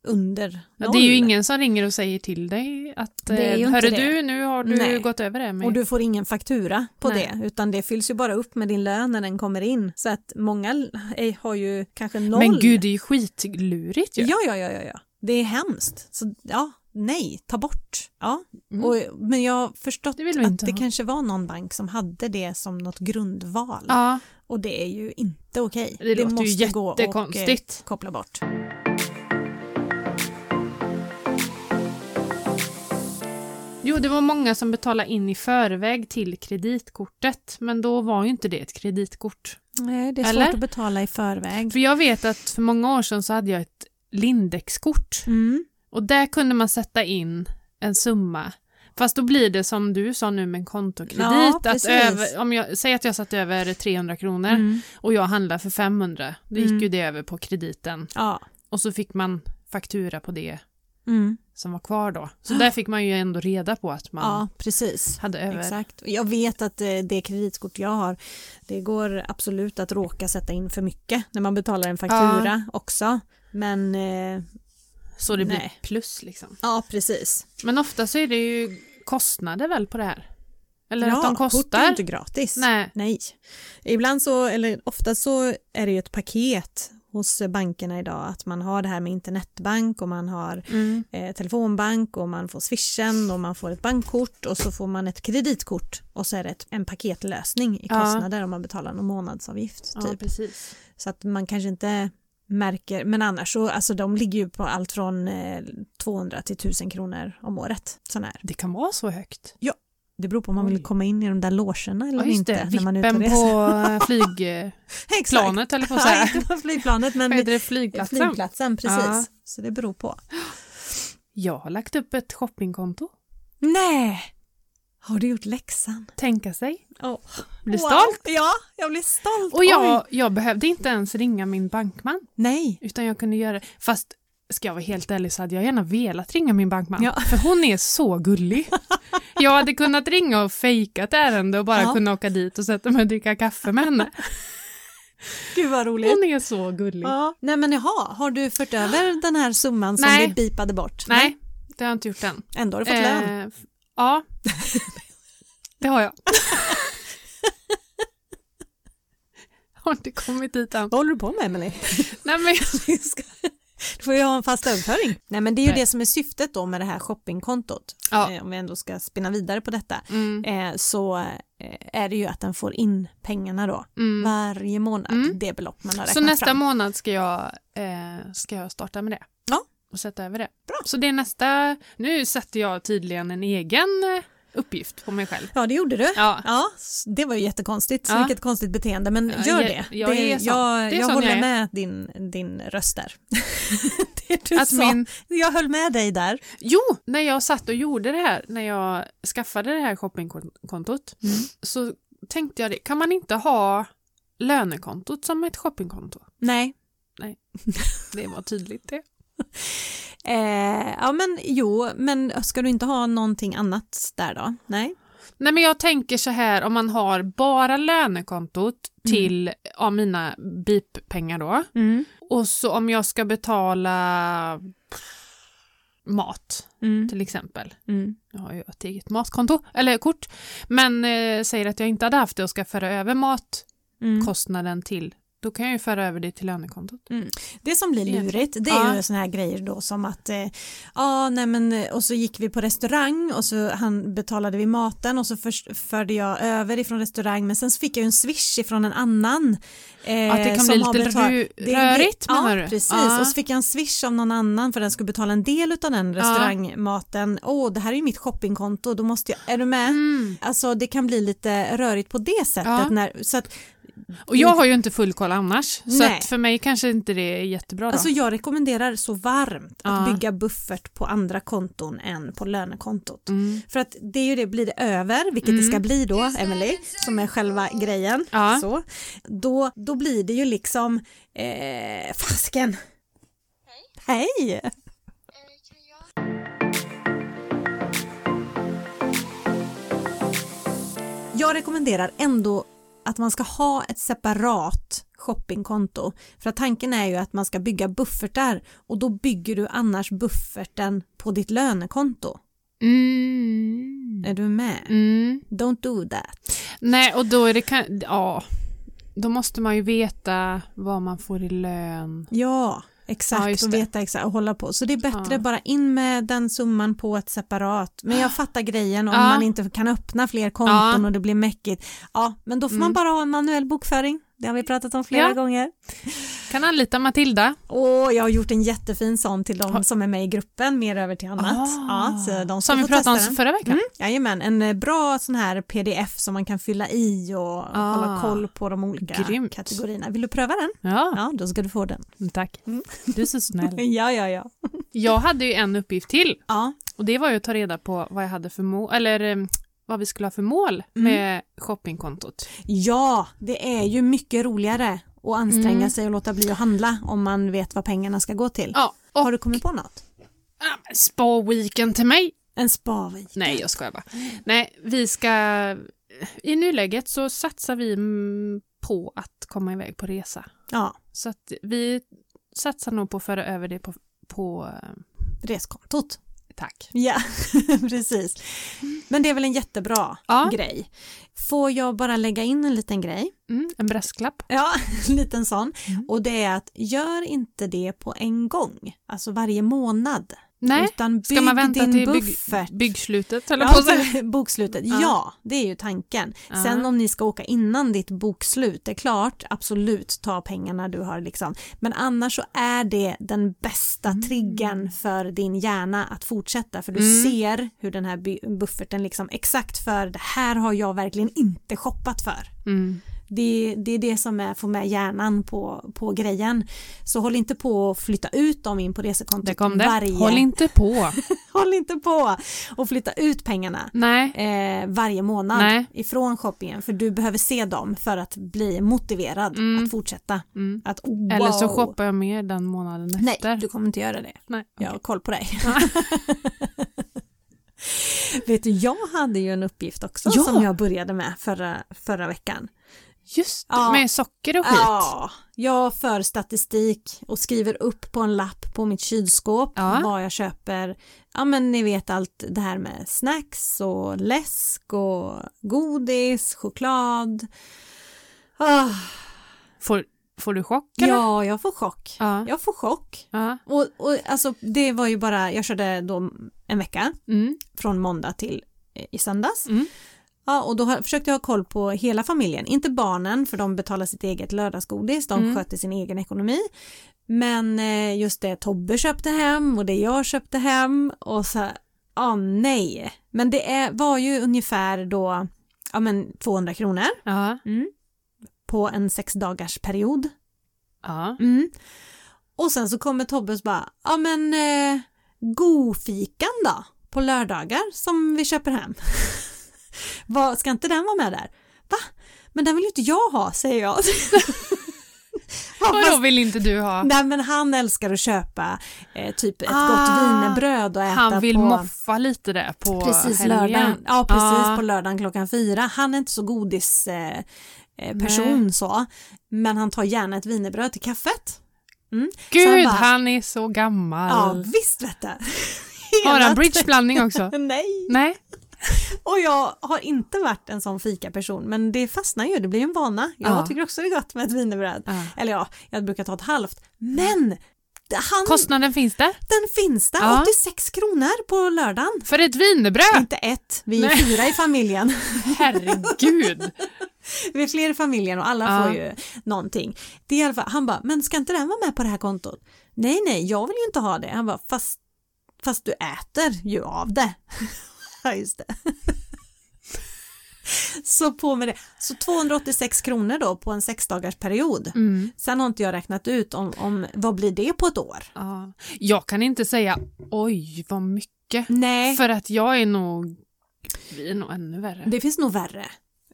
A: under noll.
B: Ja, det är ju ingen som ringer och säger till dig att
A: Det är ju
B: eh,
A: inte
B: hörru
A: det."
B: du, nu har du
A: Nej.
B: gått över det. Med.
A: Och du får ingen faktura på
B: Nej.
A: det utan det fylls ju bara upp med din lön när den kommer in. Så att många l- eh, har ju kanske noll.
B: men gud, det är ju skitlurigt ju.
A: Ja, ja, ja, ja, ja. Det är hemskt. Så ja, nej, ta bort. Ja.
B: Mm.
A: Och, men jag har förstått
B: Det vill vi
A: att
B: inte
A: det
B: ha.
A: kanske var någon bank som hade det som något grundval.
B: Ja,
A: Och det är ju inte okej.
B: det, låter ju
A: gå och,
B: jättekonstigt.
A: eh, koppla bort.
B: Jo, det var många som betalade in i förväg till kreditkortet, men då var ju inte det ett kreditkort.
A: Nej, det är
B: Eller?
A: svårt att betala i förväg.
B: För jag vet att för många år sedan så hade jag ett Lindex-kort.
A: Mm.
B: Och där kunde man sätta in en summa. Fast då blir det som du sa nu med en kontokredit.
A: Ja,
B: att
A: precis.
B: över, om jag, säg att jag satt över 300 kronor
A: Mm.
B: och jag handlade för 500. Då gick
A: Mm.
B: ju det över på krediten.
A: Ja.
B: Och så fick man faktura på det
A: Mm.
B: som var kvar då. Så där fick man ju ändå reda på att man
A: ja, precis.
B: hade över.
A: Exakt. Och Jag vet att eh, det kreditkort jag har, det går absolut att råka sätta in för mycket när man betalar en faktura också. Men eh,
B: Så det blir
A: Nej.
B: plus liksom.
A: ja, precis.
B: Men ofta så är det ju kostnader väl på det här? Eller
A: ja,
B: att de
A: Kort är
B: kostar?
A: inte gratis.
B: Nej.
A: Nej. Ibland så, eller ofta så är det ju ett paket hos bankerna idag att man har det här med internetbank och man har
B: Mm.
A: eh, telefonbank och man får swishen och man får ett bankkort och så får man ett kreditkort och så är det ett, en paketlösning i
B: Ja.
A: kostnader om man betalar någon månadsavgift.
B: Ja,
A: Typ.
B: precis.
A: Så att man kanske inte märker, men annars så, alltså de ligger ju på allt från eh, 200 till 1000 kronor om året. Sån här.
B: Det kan vara så högt.
A: Det beror på om man vill
B: Oj.
A: komma in i de där logerna eller
B: Ja, just
A: inte.
B: det.
A: när man är ute och
B: Vippen
A: reser.
B: på eh, flygplanet,
A: Exakt.
B: eller på så
A: Ja,
B: här.
A: inte på flygplanet
B: Vad
A: men
B: heter det? Flygplatsen.
A: flygplatsen, precis.
B: Ja.
A: Så det beror på.
B: Jag har lagt upp ett shoppingkonto.
A: Nej! Har du gjort läxan?
B: Tänka sig.
A: Oh.
B: Blir stolt.
A: Ja, jag blir stolt.
B: Och
A: Oj.
B: jag, jag behövde inte ens ringa min bankman,
A: Nej.
B: utan jag kunde göra Fast ska jag vara helt ärlig så hade jag gärna velat ringa min bankman,
A: Ja.
B: för hon är så gullig. Jag hade kunnat ringa och fejka ett ärende och bara
A: Ja.
B: kunna åka dit och sätta mig och dricka kaffe med henne.
A: Gud vad roligt.
B: Hon är så gullig.
A: Ja. Nej men jaha, har du fört över den här summan som
B: Nej.
A: vi bipade bort?
B: Nej, det har jag inte gjort än.
A: Ändå har du fått lön.
B: Eh, f- ja, det har jag. har inte kommit dit än.
A: Vad håller du på med Emelie?
B: Nej, men,
A: Du ska- Du får ju ha en fast överföring. Nej men det är ju
B: Nej.
A: det som är syftet då med det här shoppingkontot.
B: Ja.
A: Eh, Om vi ändå ska spinna vidare på detta.
B: mm,
A: Eh, så eh, är det ju att den får in pengarna då
B: mm.
A: varje månad.
B: Mm.
A: Det belopp man har räknat
B: Så nästa
A: fram.
B: månad ska jag, eh, ska jag starta med det.
A: Ja.
B: Och sätta över det. Bra. Så det är nästa... Nu sätter jag tydligen en egen eh, uppgift på mig själv.
A: Ja det gjorde du.
B: Ja.
A: Ja, s- det var ju jättekonstigt.
B: Ja.
A: Vilket konstigt beteende, men
B: Ja,
A: gör
B: jag-
A: det.
B: jag
A: det,
B: är sån.
A: jag,
B: Det är
A: jag
B: sån
A: håller
B: jag är.
A: med din, din röst där. det du
B: Att
A: sa.
B: min,
A: Jag höll med dig där.
B: Jo, när jag satt och gjorde det här, när jag skaffade det här shoppingkontot,
A: Mm.
B: så tänkte jag det, kan man inte ha lönekontot som ett shoppingkonto?
A: Nej,
B: Det var tydligt det.
A: Eh, ja men jo, men ska du inte ha någonting annat där då? Nej.
B: Nej, men jag tänker så här, om man har bara lönekontot till ja, mina BIP-pengar då,
A: Mm.
B: och så om jag ska betala mat
A: Mm.
B: till exempel,
A: Mm.
B: Jag har ju ett eget matkonto, eller kort, men eh, säger att jag inte hade haft det och ska föra över mat
A: Mm.
B: kostnaden till, då kan jag ju föra över det till lönekontot.
A: Det som blir lurigt det är
B: Ja.
A: ju såna här grejer då som att eh, ja nej men eh, och så gick vi på restaurang och så han betalade vi maten och så först förde jag över ifrån restaurang men sen så fick jag ju en swish ifrån en annan. eh,
B: Att det kan
A: som
B: bli
A: har
B: lite
A: betalt-
B: ru-
A: Det är en
B: rörigt
A: grej-
B: menar
A: ja,
B: du?
A: precis.
B: Ja.
A: Och så fick jag en swish av någon annan för den skulle betala en del av den restaurangmaten. Åh, det här är ju mitt shoppingkonto, då måste jag... Är du med?
B: Mm.
A: Alltså det kan bli lite rörigt på det sättet.
B: Ja.
A: När, så att,
B: Och jag har ju inte full koll annars, så
A: Nej.
B: att för mig kanske inte det är jättebra då.
A: alltså jag rekommenderar så varmt att
B: Ja.
A: bygga buffert på andra konton än på lönekontot.
B: mm.
A: För att det är ju det, blir det över, vilket det ska bli då, Emily, som är själva grejen,
B: Ja.
A: så, då, då blir det ju liksom, eh, fasken! Hej! Jag rekommenderar ändå att man ska ha ett separat shoppingkonto. För att tanken är ju att man ska bygga buffertar och då bygger du annars bufferten på ditt lönekonto.
B: Mm.
A: Är du med?
B: Mm.
A: Don't do that.
B: Nej, och då är det kan... ja, då måste man ju veta vad man får i lön.
A: Ja,
B: Ja,
A: exakt.
B: just
A: och
B: det.
A: veta exakt och hålla på. Så det är bättre
B: Ja. Ah.
A: bara in med den summan på ett separat. Men jag fattar grejen om
B: Ja.
A: man inte kan öppna fler konton
B: Ja.
A: och det blir mäckigt. Ja, men då får man
B: Ah. Mm.
A: bara ha en manuell bokföring. Det har vi pratat om flera
B: Ja.
A: gånger.
B: Kan anlita Matilda.
A: Och jag har gjort en jättefin sån till de som är med i gruppen, mer över till annat. Ja, så de ska
B: Ah. Som vi
A: få
B: pratade
A: testa
B: om
A: den.
B: förra veckan.
A: Jajamän, en eh, bra sån här pdf som man kan fylla i och
B: Ah.
A: hålla koll på de olika
B: Grymt.
A: kategorierna. Vill du pröva den?
B: Ja,
A: Ja, då ska du få den.
B: tack.
A: Mm.
B: Du är så snäll.
A: Ja, ja, ja.
B: Jag hade ju en uppgift till
A: Ja,
B: Och det var ju att ta reda på vad jag hade för mål, eller eh, vad vi skulle ha för mål
A: Mm.
B: med shoppingkontot.
A: ja det är ju mycket roligare att anstränga
B: Mm.
A: sig och låta bli att handla om man vet vad pengarna ska gå till.
B: Ja, och
A: Har du kommit på något?
B: ah, men spa-weekend till mig.
A: En spavi.
B: Nej, jag skojar bara. Nej, vi ska... I nuläget så satsar vi mm, på att komma iväg på resa.
A: Ja,
B: Så att vi satsar nog på att föra över det på... på eh,
A: reskontot.
B: tack.
A: Ja, precis. Men det är väl en jättebra
B: Ja.
A: grej. Får jag bara lägga in en liten grej?
B: Mm, en brasklapp.
A: Ja, en liten sån.
B: Mm.
A: Och det är att gör inte det på en gång, alltså varje månad.
B: Nej,
A: utan bygg
B: ska man vänta
A: din
B: till bygg,
A: buffert.
B: byggslutet? Eller på
A: Ja,
B: att säga.
A: Alltså, bokslutet, ja.
B: Ja.
A: det är ju tanken.
B: Ja.
A: Sen om ni ska åka innan ditt bokslut är klart, absolut ta pengarna du har liksom. Men annars så är det den bästa triggern för din hjärna att fortsätta för du
B: Mm.
A: ser hur den här bu- bufferten liksom exakt för det här har jag verkligen inte shoppat för.
B: Mm.
A: Det, det är det som är, får med hjärnan på, på grejen. Så håll inte på att flytta ut dem in på resekontot
B: Där kom det.
A: Typ varje...
B: Håll inte på.
A: håll inte på och flytta ut pengarna
B: Nej.
A: eh, varje månad
B: Nej.
A: ifrån shoppingen för du behöver se dem för att bli motiverad
B: Mm.
A: att fortsätta.
B: Mm.
A: Att, oh, wow.
B: Eller så shoppar jag mer den månaden
A: Nej,
B: efter.
A: du kommer inte göra det.
B: Nej.
A: Jag har koll på dig. Vet du, jag hade ju en uppgift också
B: Ja.
A: som jag började med förra, förra veckan.
B: Just det,
A: Ja.
B: med socker och skit.
A: Ja, jag för statistik och skriver upp på en lapp på mitt kylskåp
B: Ja.
A: vad jag köper. Ja men ni vet allt det här med snacks och läsk och godis, choklad. Ah,
B: Får, får du chock eller?
A: ja, jag får chock.
B: Ja.
A: Jag får chock.
B: Ja.
A: Och, och alltså det var ju bara, jag körde då en vecka
B: Mm.
A: från måndag till eh, i söndags.
B: Mm.
A: Ja, och då har- försökte jag ha koll på hela familjen, inte barnen för de betalar sitt eget lördagsgodis, de
B: Mm.
A: sköter sin egen ekonomi. Men eh, just det Tobbe köpte hem och det jag köpte hem och så, här, ja nej. Men det är, var ju ungefär då, ja men 200 kronor
B: Ja.
A: på en sex dagars period.
B: Ja.
A: Mm. Och sen så kommer Tobbes bara, ja men eh, gofikan då på lördagar som vi köper hem. Vad, ska inte den vara med där? Va? Men den vill ju inte jag ha säger jag. ja,
B: Vadå
A: fast,
B: vill inte du ha?
A: nej men han älskar att köpa eh, typ ett
B: Ah,
A: gott wienerbröd och äta
B: Han vill
A: på
B: moffa lite där på
A: precis
B: helgen. Ah.
A: lördagen. Ja precis
B: Ja.
A: på lördagen klockan fyra. Han är inte så godis eh, eh, person
B: Nej.
A: så men han tar gärna ett wienerbröd till kaffet. Så han
B: Gud,
A: bara-
B: han är så gammal.
A: Ja visst vet du.
B: Har
A: Hela-
B: han bridgeblandning också?
A: Nej,
B: Nej.
A: och jag har inte varit en sån fika-person men det fastnar ju, det blir ju en vana. Jag
B: Ja.
A: tycker också det är gott med ett wienerbröd.
B: Ja.
A: Eller ja, jag brukar ta ett halvt. Men han,
B: Kostnaden finns där.
A: den finns där,
B: Ja.
A: 86 kronor på lördagen.
B: För ett wienerbröd!
A: Inte ett, vi är
B: Nej.
A: fyra i familjen.
B: Herregud!
A: Vi är fler i familjen och alla
B: Ja.
A: får ju någonting. Det är i alla fall, han bara, men ska inte den vara med på det här kontot? Nej, nej, jag vill ju inte ha det. Han bara, fast, fast du äter ju av det. ja, just det. så på med det. Så 286 kronor då på en sexdagarsperiod. period.
B: Mm.
A: Sen har inte jag räknat ut om, om vad blir det på ett år?
B: Ja. Jag kan inte säga oj vad mycket.
A: Nej,
B: För att jag är nog, vi är nog ännu värre.
A: det finns nog värre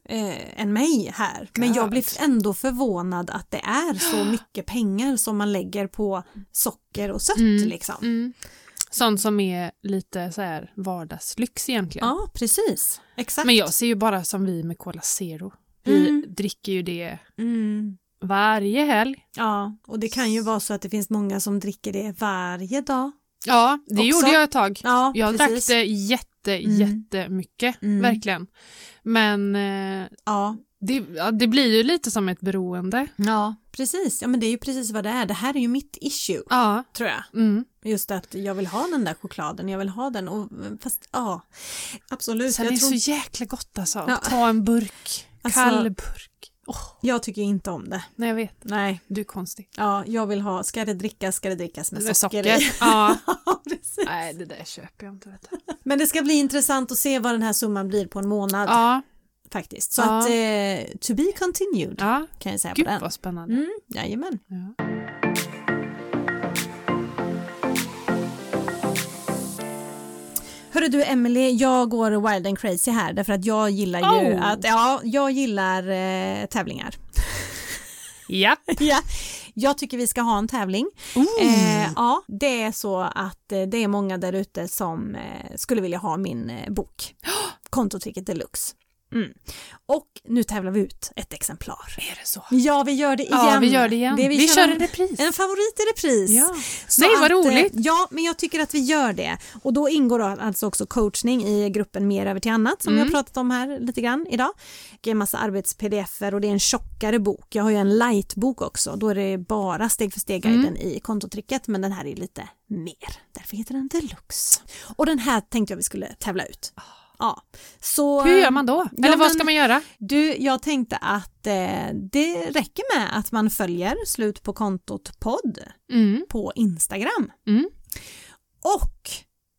A: eh, än mig här. Men jag
B: God.
A: blir ändå förvånad att det är så mycket pengar som man lägger på socker och sött
B: Mm.
A: liksom.
B: Mm. Sånt som är lite så här vardagslyx egentligen.
A: Ja, precis. Exakt.
B: Men jag ser ju bara som vi med Cola Zero. Vi
A: Mm.
B: dricker ju det
A: Mm.
B: varje helg.
A: Ja, och det kan ju vara så att det finns många som dricker det varje dag.
B: Ja, det
A: Också.
B: gjorde jag ett tag.
A: Ja,
B: Jag
A: precis.
B: drack det jätte,
A: Mm.
B: jättemycket,
A: Mm.
B: verkligen. Men eh,
A: Ja.
B: det, ja, det blir ju lite som ett beroende.
A: ja, precis. Ja, men det är ju precis vad det är. Det här är ju mitt issue,
B: Ja.
A: tror jag.
B: Mm.
A: Just att jag vill ha den där chokladen, jag vill ha den och fast ja, absolut.
B: Sen är
A: Jag,
B: det
A: tror,
B: så jäkla gott alltså.
A: Ja.
B: att Ta en burk,
A: Alltså-
B: kall burk. Åh,
A: jag tycker inte om det.
B: nej jag vet,
A: Nej,
B: du är konstig.
A: ja, jag vill ha, ska det drickas ska det drickas med,
B: Med
A: socker,
B: socker.
A: i.
B: Ja.
A: Ja, precis.
B: Nej, det där köper jag inte. Vet du.
A: Men det ska bli intressant att se vad den här summan blir på en månad
B: Ja,
A: faktiskt. Så
B: Ja.
A: att eh, to be continued.
B: ja.
A: kan jag säga
B: Gud
A: på den.
B: vad spännande.
A: Mm, jajamän.
B: Ja.
A: Hörru du Emily, jag går wild and crazy här därför att jag gillar ju
B: Oh.
A: att, ja, jag gillar eh, tävlingar.
B: Mm. Japp.
A: ja, jag tycker vi ska ha en tävling. Eh, ja, det är så att eh, det är många där ute som eh, skulle vilja ha min eh, bok. Kontotricket deluxe. Mm. Och nu tävlar vi ut ett exemplar.
B: Är det så?
A: Ja, vi gör det igen.
B: Ja, vi gör det igen. vi, kör en
A: en,
B: repris.
A: en favorit i repris.
B: Ja.
A: Så
B: Nej, vad
A: att, eh,
B: roligt.
A: Ja, men jag tycker att vi gör det. Och då ingår då alltså också coachning i gruppen Mer över till annat som vi
B: Mm.
A: har pratat om här lite grann idag. Det är en massa arbets-pdf-er och det är en tjockare bok. Jag har ju en light-bok också. Då är det bara steg för steg-guiden
B: Mm.
A: i kontotricket men den här är lite mer. Därför heter den deluxe. Och den här tänkte jag vi skulle tävla ut. Ja. Så,
B: Ah. Hur gör man då?
A: Ja,
B: Eller vad
A: men-
B: ska man göra?
A: du, jag tänkte att eh, det räcker med att man följer Slut på kontot podd
B: Mm.
A: på Instagram.
B: Mm.
A: Och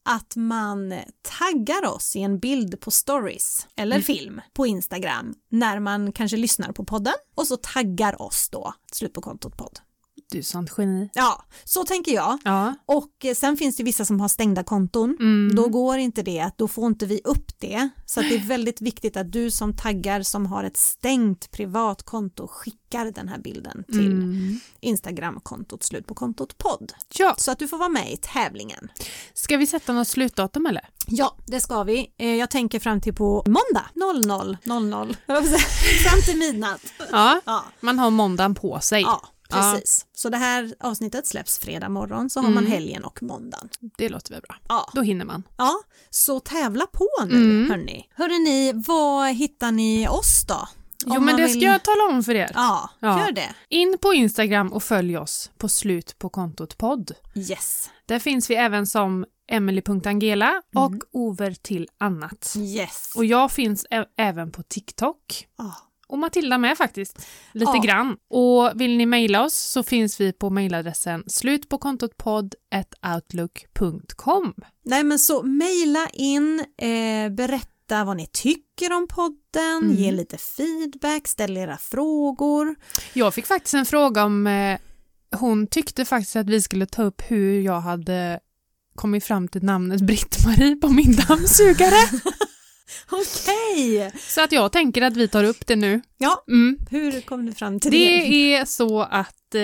A: att man taggar oss i en bild på stories eller
B: Mm.
A: film på Instagram när man kanske lyssnar på podden och så taggar oss då, slut på kontot podd.
B: Du sånt geni.
A: Ja, så tänker jag.
B: Ja.
A: Och eh, sen finns det vissa som har stängda konton.
B: Mm.
A: Då går inte det, att då får inte vi upp det. Så att det är väldigt viktigt att du som taggar som har ett stängt privat konto skickar den här bilden till
B: Mm.
A: Instagram-kontot slut på kontot podd.
B: Ja,
A: Så att du får vara med i tävlingen.
B: ska vi sätta något slutdatum eller?
A: Ja, det ska vi. Eh, Jag tänker fram till på måndag 00.00. fram till midnatt.
B: Ja,
A: Ja,
B: man har måndagen på sig.
A: ja precis. Så det här avsnittet släpps fredag morgon så har
B: Mm.
A: man helgen och måndagen.
B: Det låter väl bra.
A: Ja.
B: Då hinner man.
A: Ja, så tävla på nu
B: Mm.
A: hörni. Hörrni, var hittar ni oss då? Om
B: Jo,
A: man
B: men det
A: vill-
B: ska jag tala om för er.
A: Ja,
B: Ja.
A: gör det.
B: In på Instagram och följ oss på slut på kontot podd.
A: Yes.
B: Där finns vi även som Emily.Angela och Over till annat.
A: Yes.
B: Och jag finns ä- även på TikTok.
A: Ja.
B: Och Matilda med faktiskt, lite
A: Ja.
B: grann. Och vill ni mejla oss så finns vi på mejladressen slutpåkontotpodd.outlook.com.
A: Nej men så mejla in, eh, berätta vad ni tycker om podden,
B: Mm.
A: ge lite feedback, ställ era frågor.
B: Jag fick faktiskt en fråga om, eh, hon tyckte faktiskt att vi skulle ta upp hur jag hade kommit fram till namnet Britt-Marie på min dammsugare.
A: Okej!
B: så att jag tänker att vi tar upp det nu.
A: Ja,
B: Mm.
A: hur kom du fram till det?
B: Det är så att eh,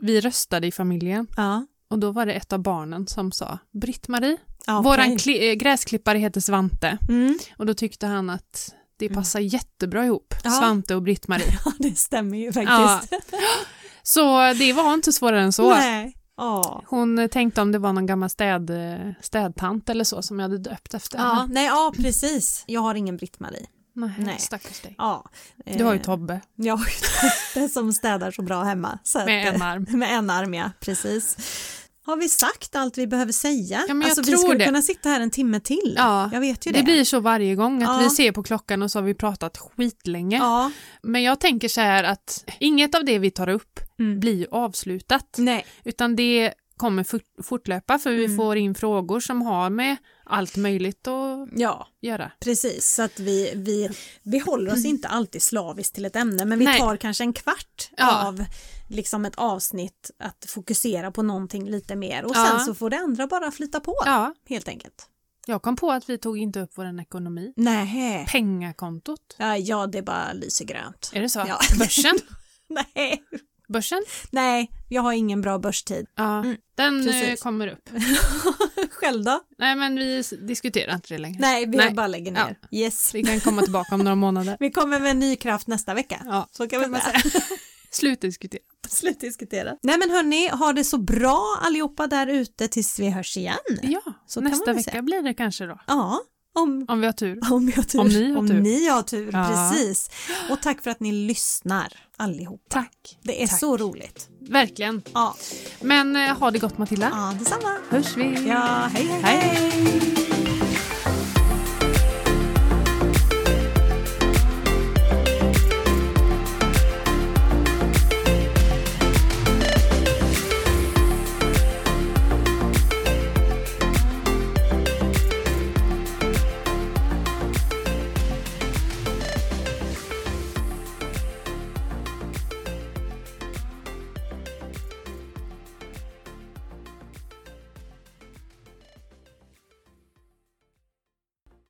B: vi röstade i familjen
A: Ja.
B: och då var det ett av barnen som sa Britt-Marie.
A: Ja,
B: Våran
A: okej.
B: kli- eh, gräsklippare heter Svante
A: Mm.
B: och då tyckte han att det passar jättebra ihop,
A: Ja.
B: Svante och Britt-Marie.
A: Ja, det stämmer ju
B: Ja.
A: faktiskt.
B: Så det var inte svårare än så.
A: Nej. Ja.
B: Hon eh, tänkte om det var någon gammal städ, eh, städtant eller så som jag hade döpt efter.
A: Ja,
B: henne.
A: nej, ja, precis. Jag har ingen Britt-Marie.
B: Nej,
A: Nej.
B: stackars dig.
A: Ja.
B: Du har ju
A: Eh,
B: Tobbe
A: Jag har ju Tobbe som städar så bra hemma. Så att,
B: med en
A: eh,
B: arm.
A: med en arm, ja. Precis. Har vi sagt allt vi behöver säga?
B: Ja, men jag
A: alltså, vi
B: tror
A: skulle
B: det.
A: kunna sitta här en timme till.
B: Ja.
A: Jag vet ju det.
B: Det blir så varje gång att
A: Ja.
B: vi ser på klockan och så har vi pratat skitlänge.
A: Ja.
B: Men jag tänker så här att inget av det vi tar upp
A: Mm.
B: blir ju avslutat,
A: Nej.
B: utan det kommer fort- fortlöpa för vi
A: Mm.
B: får in frågor som har med allt möjligt att
A: Ja,
B: göra.
A: precis. Så att vi, vi, vi håller oss inte alltid slaviskt till ett ämne, men vi
B: Nej.
A: tar kanske en kvart
B: Ja.
A: av liksom ett avsnitt att fokusera på någonting lite mer och
B: Ja.
A: sen så får det andra bara flyta på
B: Ja,
A: helt enkelt.
B: jag kom på att vi tog inte upp vår ekonomi.
A: Nej.
B: Pengakontot,
A: Ja, ja, det bara lyser grönt.
B: är det så?
A: Ja.
B: Börsen?
A: Nej.
B: Börsen?
A: Nej, jag har ingen bra börstid.
B: Ja, den eh,
A: Mm, precis.
B: kommer upp.
A: Själv då?
B: Nej, men vi s- diskuterar inte det längre.
A: Nej, vi
B: Nej.
A: bara lägger ner. Yes.
B: Vi kan komma tillbaka om några månader.
A: Vi kommer med ny kraft nästa vecka.
B: Ja,
A: Så kan, vi
B: man
A: säga.
B: slutdiskutera.
A: Slutdiskutera. Nej men hörni, ha det så bra allihopa där ute tills vi hörs igen.
B: Ja,
A: Så kan man
B: nästa
A: väl
B: vecka
A: säga.
B: blir det kanske då.
A: Ja, om,
B: Om vi har tur.
A: om jag har tur.
B: Om ni har tur.
A: ni har tur,
B: Ja.
A: precis. Och tack för att ni lyssnar allihopa.
B: Tack.
A: Det är
B: Tack.
A: så roligt.
B: Verkligen.
A: Ja,
B: Men eh, ha det gott Matilda.
A: ja detsamma.
B: Hörs vi.
A: Ja, hej hej.
B: Hej.